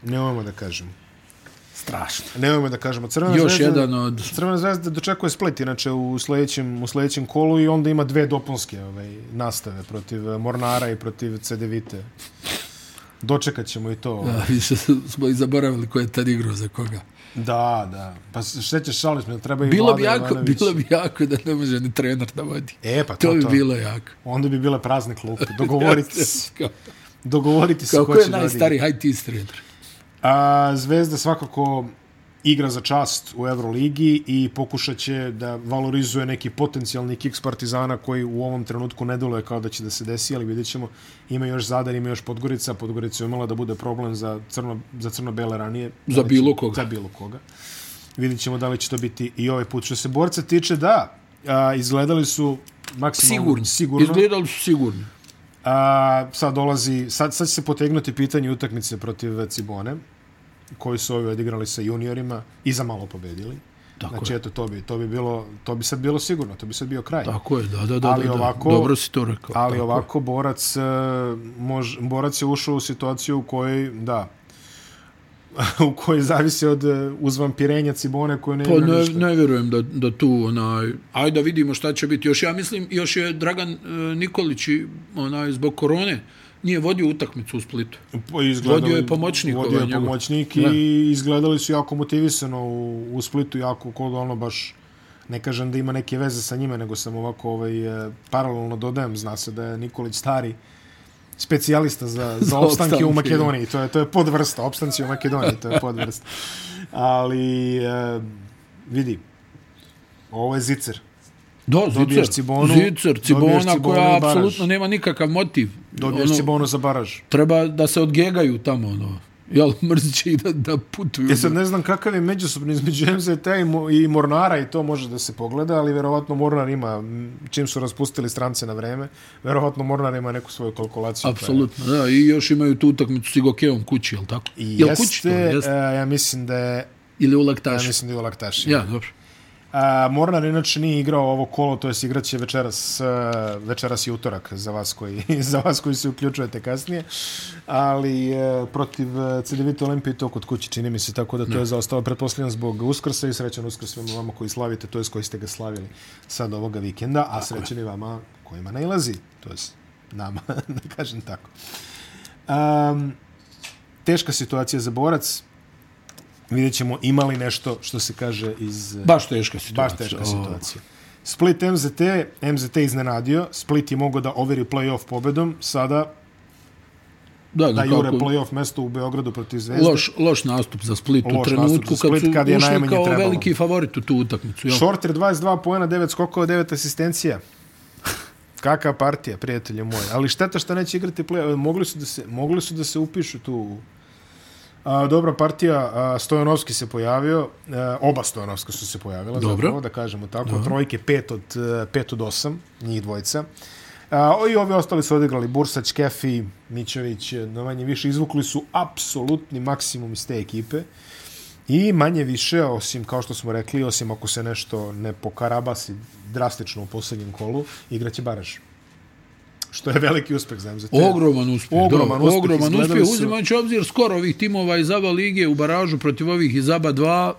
Nemojmo da kažemo. Strašno. Nemojmo da kažemo. Crvena Još zvezda, jedan od... Crvena zvezda dočekuje Split, inače u sledećem, u sledećem kolu i onda ima dve dopunske ovaj, nastave protiv eh, Mornara i protiv CDVite. Dočekat ćemo i to. ovaj. Da, više smo i zaboravili ko je tad igrao za koga. Da, da. Pa šećeš, šali smo, treba i Bilo bi, Vlada jako, Jovanović. bilo bi jako da ne može ni trener da vodi. E, pa to, To bi to. bilo jako. Onda bi bile prazne klupe. Dogovoriti se. Kao, Dogovoriti se kao ko ko je će da odi. najstariji IT trener? A, Zvezda svakako igra za čast u Euroligi i pokušat će da valorizuje neki potencijalni kiks Partizana koji u ovom trenutku ne deluje kao da će da se desi, ali vidjet ćemo. Ima još Zadar, ima još Podgorica. Podgorica je umela da bude problem za, crno, za crno-bele ranije. Da Za li će- bilo koga. Za bilo koga. Vidjet ćemo da li će to biti i ovaj put. Što se borca tiče, da, a, izgledali su maksimalno Sigurno. sigurno. Izgledali su sigurno. A, sad dolazi, sad, sad će se potegnuti pitanje utakmice protiv Cibone, koji su ovi odigrali sa juniorima i za malo pobedili. Tako znači, je. eto, to bi, to bi bilo, to bi sad bilo sigurno, to bi sad bio kraj. Tako je, da, da, da. Ali da, da. ovako- Dobro si to rekao. Ali Tako. ovako, borac, e, mož, borac je ušao u situaciju u kojoj, da, u kojoj zavisi od e, uzvampirenja Cibone koje ne Pa igra ne, ništa. ne vjerujem da, da tu, onaj, ajde da vidimo šta će biti. Još ja mislim, još je Dragan e, Nikolić, i, onaj, zbog korone, nije vodio utakmicu u Splitu. Pa izgledali- Vodio je pomoćnik Vodio je ovaj njegov. pomoćnik i Da. izgledali su jako motivisano u, u Splitu, jako kod ono baš ne kažem da ima neke veze sa njime, nego sam ovako ovaj, eh, paralelno dodajem, zna se da je Nikolić stari specijalista za, za, Za opstanke, u opstanke, Makedoniji. To je, to je podvrsta, opstanci u Makedoniji, to je podvrsta. Ali, e, vidi, ovo je zicer. Da, Dobiješ Zicer. Cibonu, Zicer, dobiješ Cibona Cibonu i koja Baraž. apsolutno nema nikakav motiv. Dobiješ ono... bonus za baraž. Treba da se odgegaju tamo, ono. Jel, mrziće i da, da putuju. Ja sad ne znam kakav je međusobni između MZT i, Mo- i Mornara i to može da se pogleda, ali verovatno Mornar ima, m, čim su raspustili strance na vreme, verovatno Mornar ima neku svoju kalkulaciju. Apsolutno, da. I još imaju tu utakmicu s Igokeom kući, jel tako? I jel kući to? jeste, Jeste. e, ja mislim da je, Ili u ja Laktašu. mislim da je u Laktaši. Ja, dobro. A, Mornar inače nije igrao ovo kolo, to jest igraće večeras, e, večeras i utorak za vas koji, za vas koji se uključujete kasnije, ali e, protiv e, CDVita Olimpije to kod kuće čini mi se, tako da to je zaostalo pretpostavljam zbog Uskrsa i srećan Uskrs svima vama koji slavite, to jest koji ste ga slavili sad ovoga vikenda, a srećan i vama kojima nailazi, to jest nama, da kažem tako. Um, teška situacija za borac, vidjet ćemo ima li nešto što se kaže iz... e, Baš teška situacija. Baš teška znači, O, situacija. Split MZT, MZT iznenadio, Split je mogao da overi play-off pobedom, sada Da, da da jure kako, play-off mesto u Beogradu protiv Zvezde. Loš. loš, loš nastup za Split u Loš nastup za trenutku Split, kad su kad je ušli najmanje kao trebalo. veliki favorit u tu utakmicu. Jel? Shorter 22 poena, 9 skokova, 9 asistencija. Kaka partija, prijatelje moje. Ali šteta što neće igrati play-off. Mogli su da se, mogli su da se upišu tu u- A, dobra partija, a, Stojanovski se pojavio, e, oba Stojanovska su se pojavila, Dobro. zapravo, da kažemo tako, trojke 5 od 5 od 8, njih dvojica. A, o, I ovi ostali su odigrali Bursać, Kefi, Mićević, e, na manje više izvukli su apsolutni maksimum iz te ekipe. I manje više, osim, kao što smo rekli, osim ako se nešto ne pokarabasi drastično u posljednjem kolu, igraće Baraž. Što je veliki uspeh za MZT. Ogroman uspjeh, Ogroman da, uspjeh, ogroman izgledali uspjeh su- uzimajući obzir skoro ovih timova iz ABA lige u baražu protiv ovih iz ABA 2,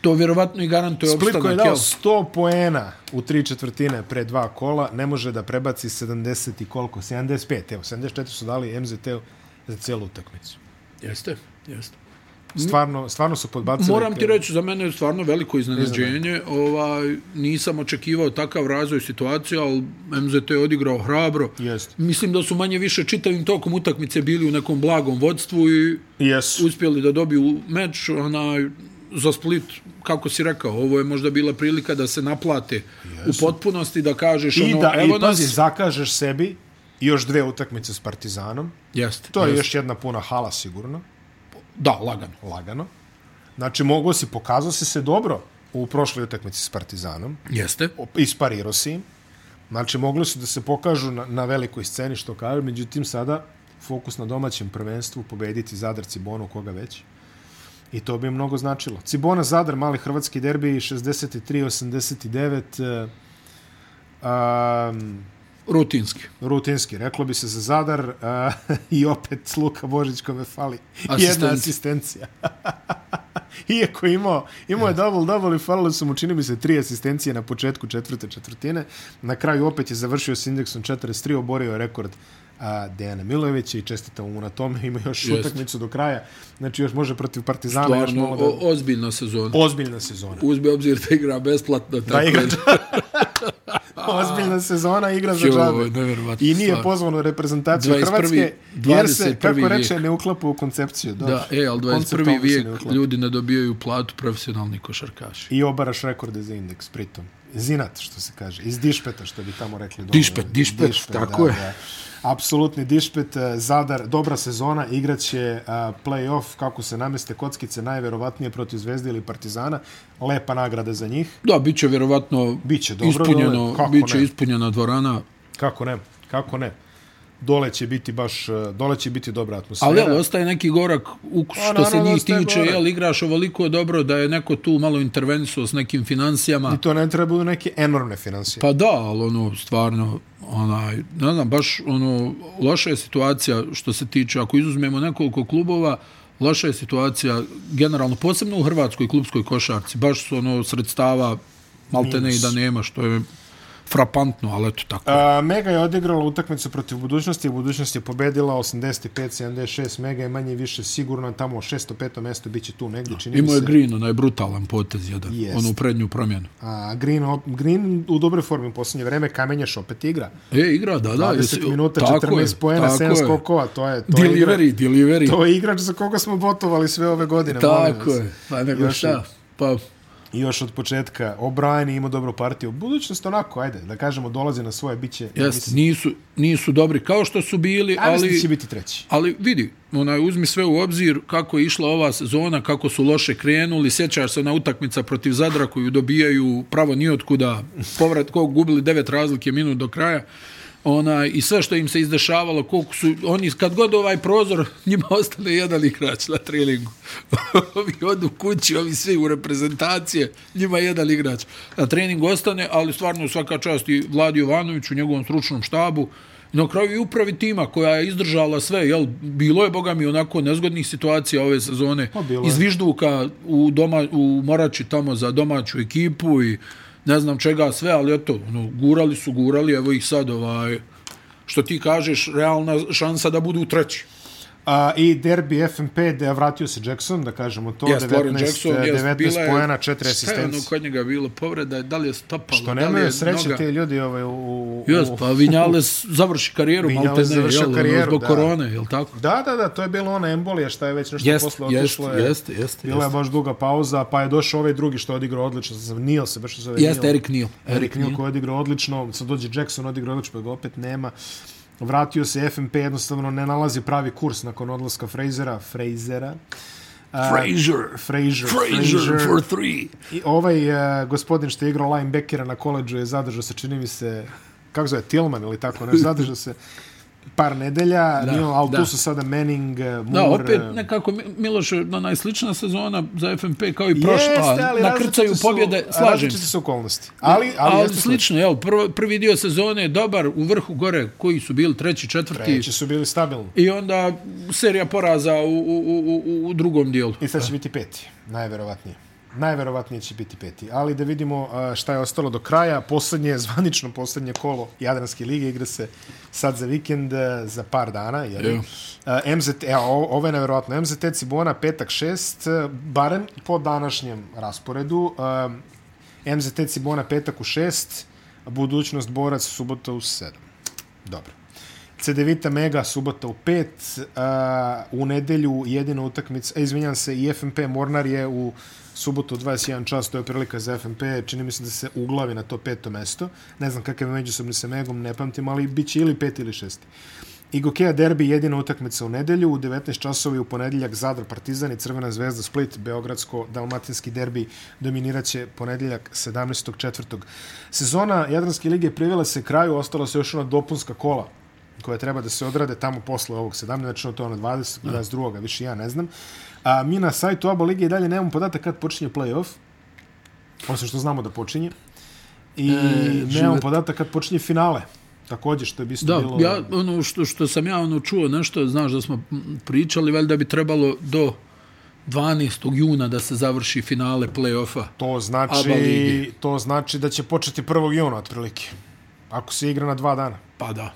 to vjerovatno i garantuje Split koji je opstanak. dao jel? 100 poena u tri četvrtine pre dva kola, ne može da prebaci 70 i koliko, 75, evo, 74 su dali MZT-u za cijelu utakmicu. Jeste, jeste. Stvarno, stvarno su podbacili. Moram ti reći, za mene je stvarno veliko iznenađenje. Ovaj, nisam očekivao takav razvoj situacije, ali MZT je odigrao hrabro. Jeste. Mislim da su manje više čitavim tokom utakmice bili u nekom blagom vodstvu i Jesu. uspjeli da dobiju meč onaj, za Split, kako si rekao, ovo je možda bila prilika da se naplate u potpunosti, da kažeš I ono, da, evo i pazi, nas... zakažeš sebi još dve utakmice s Partizanom. Jeste, To je jeste. još jedna puna hala sigurno, Da, lagano. lagano. Znači, mogo si, pokazao si se dobro u prošloj utakmici s Partizanom. Jeste. op- isparirao si im. Znači, mogli su da se pokažu na, na velikoj sceni, što kaže, međutim, sada fokus na domaćem prvenstvu, pobediti Zadar, Cibonu, koga već. I to bi im mnogo značilo. Cibona, Zadar, mali hrvatski derbi, 63-89, e, um, Rutinski. rutinski, reklo bi se za Zadar uh, i opet Luka Božić kome fali jedna Asistencija. asistencija. Iako je imao, imao je double-double i falile su mu, čini mi se, tri asistencije na početku četvrte četvrtine. Na kraju opet je završio s indeksom 43, oborio je rekord a, Dejana Milojevića i čestitam mu na tome. Ima još Jest. utakmicu do kraja. Znači još može protiv Partizana još Stvarno, malo da... o, ozbiljna sezona. Ozbiljna sezona. Uzme obzir da igra besplatno. Tako Da Pa igra Ozbiljna sezona igra za Jo, džabe. neverovatno, I nije stvarno. pozvano u reprezentaciju 21., Hrvatske, jer se, 21. kako vijek. reče, ne uklapa u koncepciju. Da, Da, e, ali Konceptualno 21. se ne vijek uklapa. ljudi ne dobijaju platu profesionalni košarkaši. I obaraš rekorde za indeks, pritom. Zinat, što se kaže. Iz dišpeta, što bi tamo rekli. dole. Dišpet, dišpet, tako je. Da. Apsolutni dišpet, eh, Zadar, dobra sezona, igraće a, play-off, kako se nameste kockice, najverovatnije protiv Zvezde ili Partizana. Lepa nagrada za njih. Da, bit će vjerovatno Biće dobro ispunjeno, dole, kako bit će ne. ispunjena dvorana. Kako ne, kako ne. Dole će biti baš, eh, dole će biti dobra atmosfera. Ali jel, ostaje neki gorak ukus A, što se Pa naravno, njih ostaje tiče, gorak. jel igraš ovoliko dobro da je neko tu malo intervenisuo s nekim financijama. I to ne trebaju neke enormne financije. Pa, Pa da, ali ono, stvarno, onaj, ne znam, baš ono, loša je situacija što se tiče, ako izuzmemo nekoliko klubova, loša je situacija generalno, posebno u Hrvatskoj klubskoj košarci, baš su ono sredstava malte ne i da nema, što je frapantno, ali eto tako. A, E, Mega je odigrala utakmicu protiv budućnosti, budućnost je pobedila 85-76, Mega je manje više sigurno, tamo 605. mesto bit će tu negdje, čini mi Imao je se. Green, onaj brutalan potez jedan, Jest. onu prednju promjenu. A, Green, op- Green u dobroj formi u posljednje vreme, Kamenjaš opet igra. E, igra, da, da. 20 minuta, tako je, 14 poena, tako 7 je. skokova, to je, to je, igra, Delivery, delivery. to je igrač za koga smo botovali sve ove godine. molim Tako vas. je, pa nego Još šta, pa I još od početka, O'Brien je imao dobru partiju. Budućnost onako, ajde, da kažemo, dolazi na svoje, bit će, jeste, nisu, nisu dobri kao što su bili, ali... ali... mislim da će biti treći. Ali vidi, onaj, uzmi sve u obzir kako je išla ova sezona, kako su loše krenuli, sjećaš se na utakmica protiv Zadra koju dobijaju pravo nijotkuda, povrat kog gubili devet razlike minut do kraja, onaj, i sve što im se izdešavalo, koliko su, oni kad god ovaj prozor, njima ostane jedan igrač na treningu. ovi odu kući, ovi svi u reprezentacije, njima jedan igrač. Na treningu ostane, ali stvarno svaka čast i Vladi Jovanoviću, njegovom stručnom štabu, Na kraju i upravi tima koja je izdržala sve, jel, bilo je, boga mi, onako nezgodnih situacija ove sezone. Pa, bilo je. Iz Vižduka u, doma, u Morači tamo za domaću ekipu i ne znam čega sve, ali eto, ono, gurali su, gurali, evo ih sad, ovaj, što ti kažeš, realna šansa da budu treći. A, I derbi FMP, da je vratio se Jackson, da kažemo to, eh, Jest, 19, Warren Jackson, jest, 19 bila je- pojena, 4 Šta je ono asistencije. kod njega bilo povreda, da li je stopalo, Što da li nemaju je sreće noga? te ljudi ovaj, u... u Jes, pa Vinjales završi karijeru, Vinjales malte ne, završio jel, ono, karijeru, zbog da. korone, jel tako? Da, da, da, to je bilo ona embolija, šta je već nešto Jeste, posle jeste, otišlo. je, jeste, jeste. Bila je baš duga pauza, pa je došao ovaj drugi što je odigrao odlično, sam Neal se baš zove Jeste Neal. Erik Neal. Erik Neal koji je odigrao odlično, sad dođe Jackson, odigrao odlično, pa ga opet nema. Vratio se FMP, jednostavno ne nalazi pravi kurs nakon odlaska Frasera. Frasera. Frazier. Frazier. Frazier for three. I ovaj uh, gospodin što je igrao linebackera na koleđu je zadržao se, čini mi se, kako zove, Tillman ili tako nešto, zadržao se par nedelja, da, nije, ali da. da. tu su sada Manning, uh, Moore... Da, opet uh, nekako Mi- Miloš je onaj slična sezona za FMP kao i prošla. Nakrcaju različite su- pobjede, slažem Različite se. su okolnosti. Ali, ali, Ali jeste slično, jel, prvo, prvi dio sezone je dobar, u vrhu gore koji su bili treći, četvrti Treći su bili stabilni. i onda serija poraza u, u, u, u- u drugom dijelu. I sad će biti peti, najverovatnije. Najverovatnije će biti peti. Ali da vidimo a, šta je ostalo do kraja. Poslednje, zvanično poslednje kolo Jadranske lige igra se sad za vikend, e, za par dana. Jeli? Je. Yeah. MZT, evo, e, o- ovo je neverovatno. MZT Cibona, petak šest, e, barem po današnjem rasporedu. E, MZT Cibona, petak u šest, budućnost borac subota u sedam. Dobro. CDVita Mega subota u 5, uh, u nedelju jedina utakmica, e, izvinjam se, i FMP Mornar je u subotu u 21 čas, to je prilika za FMP, čini mi se da se uglavi na to peto mesto, ne znam kakav je međusobni sa Megom, ne pamtim, ali bit će ili peti ili šesti. Igokea derbi jedina utakmica u nedelju, u 19 časova i u ponedeljak Zadar Partizan i Crvena zvezda Split, Beogradsko-Dalmatinski derbi dominiraće ponedeljak 17.4. Sezona Jadranske lige privela se kraju, ostalo se još ona dopunska kola koja treba da se odrade tamo posle ovog 17, znači to je ono 20, 22, više ja ne znam. A, mi na sajtu ABA lige i dalje nemamo podatak kad počinje play-off, osim što znamo da počinje. I e, nemamo život. podatak kad počinje finale. Takođe, što bi isto Da, bilo... ja, ono što, što sam ja ono čuo nešto, znaš da smo m, pričali, valjda bi trebalo do 12. juna da se završi finale play-offa. To ABA znači, ligi. to znači da će početi 1. juna otprilike. Ako se igra na dva dana. Pa da.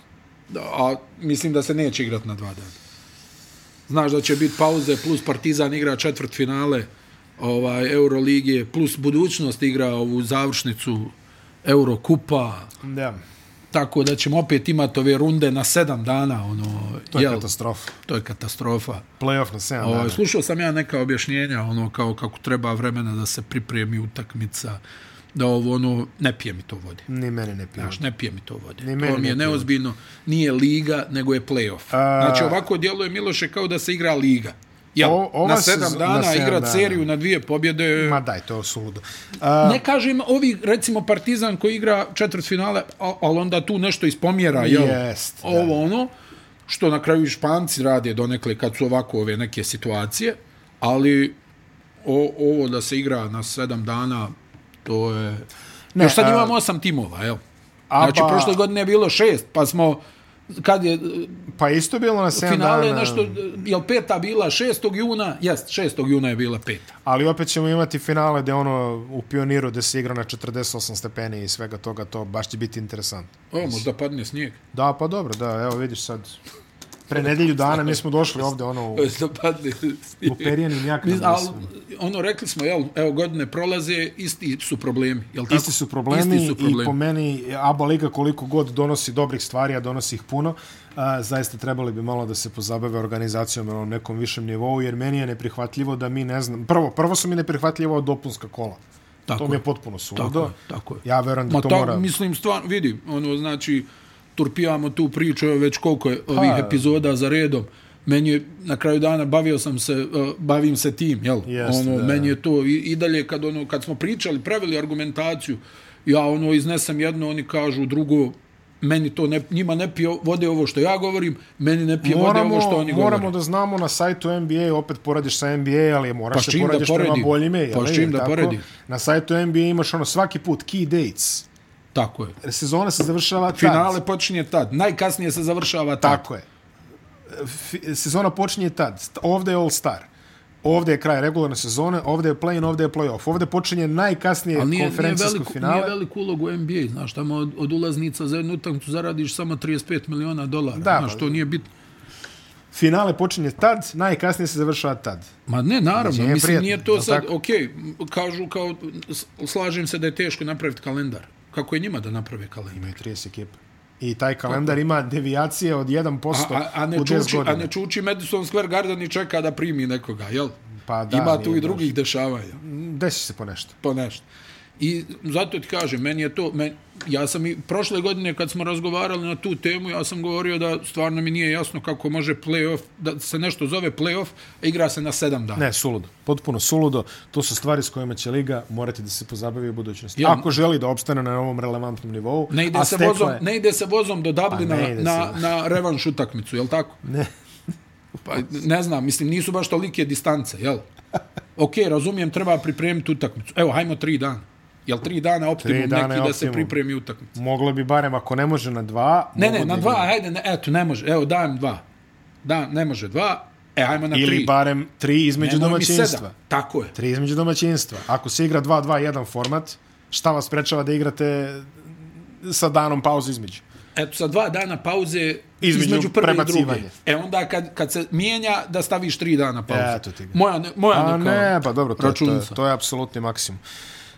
da. A mislim da se neće igrat na dva dana. Znaš da će biti pauze, plus Partizan igra četvrt finale ovaj, Euroligije, plus budućnost igra ovu završnicu Eurokupa, Da. tako da ćemo opet imati ove runde na sedam dana. Ono, To je katastrofa. to je katastrofa. Playoff na 7 Ovaj, dana. slušao sam ja neka objašnjenja, ono, kao kako treba vremena da se pripremi utakmica, da ovo, ono, ne pije mi to vode. Ni mene ne pije. Znaš, ne pije mi to vode. Ni meni to mi ne pije. je neozbiljno. Nije liga, nego je play-off. A- Znači, ovako djeluje Miloše kao da se igra liga. Jel, O- ova na sedam sezon- dana na sedam igrat dana. seriju na dvije pobjede. Ma daj, to je suludo. ne kažem, ovi, recimo, Partizan koji igra četvrt finale, ali onda tu nešto ispomjera, jel? Jest, da. Ovo ono, što na kraju i Španci rade donekle kad su ovako ove neke situacije, ali o, ovo da se igra na sedam dana, to je... Ne, Ne, Još sad a- imamo osam timova, jel? A Znači, pa- prošle godine je bilo šest, pa smo kad je e, Pa isto je bilo na 7 finale dana. nešto, jel peta bila 6. juna? Jest, 6. juna je bila peta. Ali opet ćemo imati finale gde ono u pioniru gde se igra na 48 stepeni i svega toga, to baš će biti interesantno. O, možda padne snijeg. Da, pa dobro, da, evo vidiš sad. Pre nedelju dana mi smo došli ovde ono u, Možda padne snijeg. u perijanim Mi, jaknama. ali, ono, rekli smo, jel, evo, godine prolaze, isti su problemi, jel tako? Isti su problemi, Isti su problemi. i po meni ABA Liga koliko god donosi dobrih stvari, a donosi ih puno, a, zaista trebali bi malo da se pozabave organizacijom na nekom višem nivou, jer meni je neprihvatljivo da mi ne znam, prvo, prvo su mi neprihvatljivo dopunska kola. Tako Tako to mi je je. potpuno suludo. Tako je, tako je. Ja verujem da Ma to ta, mora... mislim, stvarno, vidi, ono, znači, turpijamo tu priču, evo već koliko je ovih epizoda za redom. Meni je, na kraju dana, bavio sam se, uh, bavim se tim, jel? Jeste, ono, da. Meni je to, i, i dalje, kad, ono, kad smo pričali, pravili argumentaciju, ja, ono, iznesem jedno, oni kažu drugo, meni to ne, njima ne pije vode ovo što ja govorim, meni ne pije vode Moramo, ovo što oni govore. moramo da znamo na sajtu NBA, opet poradiš sa NBA, ali moraš Pa s se čim da poradiš prema poredim? boljim je. Pa s čim da poredim? Na sajtu NBA imaš ono svaki put key dates. Tako je. Sezona se završava tad. Finale počinje tad. Najkasnije se završava tad. Tako je. F- Sezona počinje tad. St- Ovde je All Star. Ovde je kraj regularne sezone, ovde je play-in, ovde je play-off. Ovde počinje najkasnije Ali nije, nije, E, konferencijsko veliku, finale. nije veliku ulogu u NBA, znaš, tamo od, od ulaznica za jednu utakmicu zaradiš samo 35 miliona dolara, Da, da, znaš, pa- to nije bitno. Finale počinje tad, najkasnije se završava tad. Ma ne, naravno, Nije nije mislim, prijatno, nije jel to sad, tako? okej, m, kažu kao, s- slažem se da je teško napraviti kalendar. Kako je njima da naprave kalendar? Imaju 30 ekipa. I taj kalendar ima devijacije od 1% A, a, a, ne u 10 čuči, a godina. ne čuči Madison Square Garden i čeka da primi nekoga, jel? Pa da, Ima tu nije i drugih dešavanja, Desi se po nešto. po nešto. I zato ti kažem, meni je to, men, ja sam i prošle godine kad smo razgovarali na tu temu, ja sam govorio da stvarno mi nije jasno kako može play-off, da se nešto zove play-off, a igra se na sedam dana. Ne, suludo. Potpuno suludo. To su stvari s kojima će Liga morati da se pozabavi u budućnosti. Ja- Ako želi da opstane na ovom relevantnom nivou, Ne a ide, se stekla vozom, je- Pa ne ide se vozom do Dublina ne ide na, na revanš utakmicu, jel tako? Ne. Pa, ne znam, mislim, nisu baš tolike distance, jel? Ok, razumijem, treba pripremiti utakmicu. Evo, hajmo tri dana. Jel tri dana optimum Tri dana neki je da se optimum. pripremi utakmica? Moglo bi barem, ako ne može na dva... Ne, mogu ne, da na igra- dva, ajde, ne, eto, ne može. Evo, dajem dva. Da, ne može dva, e, ajmo na Ili tri. barem tri između Nemoj mi domaćinstva. sedam. Tako je. Tri između domaćinstva. Ako se igra 2-2-1 format, šta vas prečava da igrate sa danom pauze između? Eto, sa dva dana pauze Između između, između prve i druge. prebacivanja. E onda kad, kad se mijenja, da staviš tri dana pauze. Eto ti ga. Moja, ne, moja A neka ne, pa dobro, to, je- to, je- računica. to je apsolutni maksimum.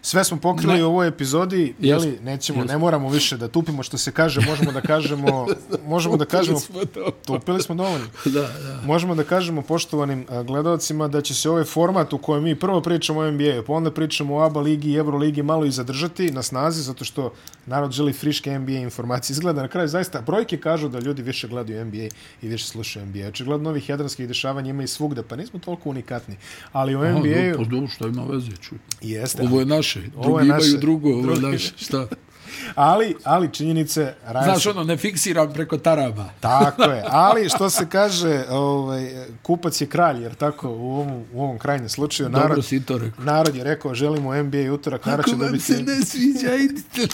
Sve smo pokrili u ovoj epizodi, jeli, nećemo, ne moramo više da tupimo što se kaže, možemo da kažemo, možemo da kažemo, tupili smo dovoljno. Da, da. Možemo da kažemo poštovanim a, gledaocima da će se ovaj format u kojem mi prvo pričamo o NBA, pa onda pričamo o ABA ligi i Euro ligi malo i zadržati na snazi, zato što narod želi friške NBA informacije. Izgleda na kraju zaista, brojke kažu da ljudi više gledaju NBA i više slušaju NBA. Očigledno ovih jadranskih dešavanja ima i svugda, pa nismo toliko unikatni. Ali u NBA... Pa NBA-u dobro, što ima veze, čuj. jeste, Ovo je naše, Ovo drugi je imaju naše. drugo, ovo je Drugi- naše, šta? ali, ali činjenice... Raja Znaš, su- ono, ne fiksiram preko taraba. Tako je, ali što se kaže, ovaj, kupac je kralj, jer tako u ovom, u ovom krajnjem slučaju narod, Dobro si i to rekao. Narod je rekao, želimo NBA utorak, narod Ako će vam se dobiti... ne sviđa, idite.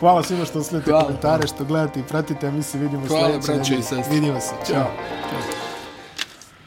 Hvala svima što sledite Hvala. komentare, što gledate i pratite, a mi se vidimo Hvala, sljedeće braćo i nedelje. sestre. Vidimo se, Ćao. čao. Ćao.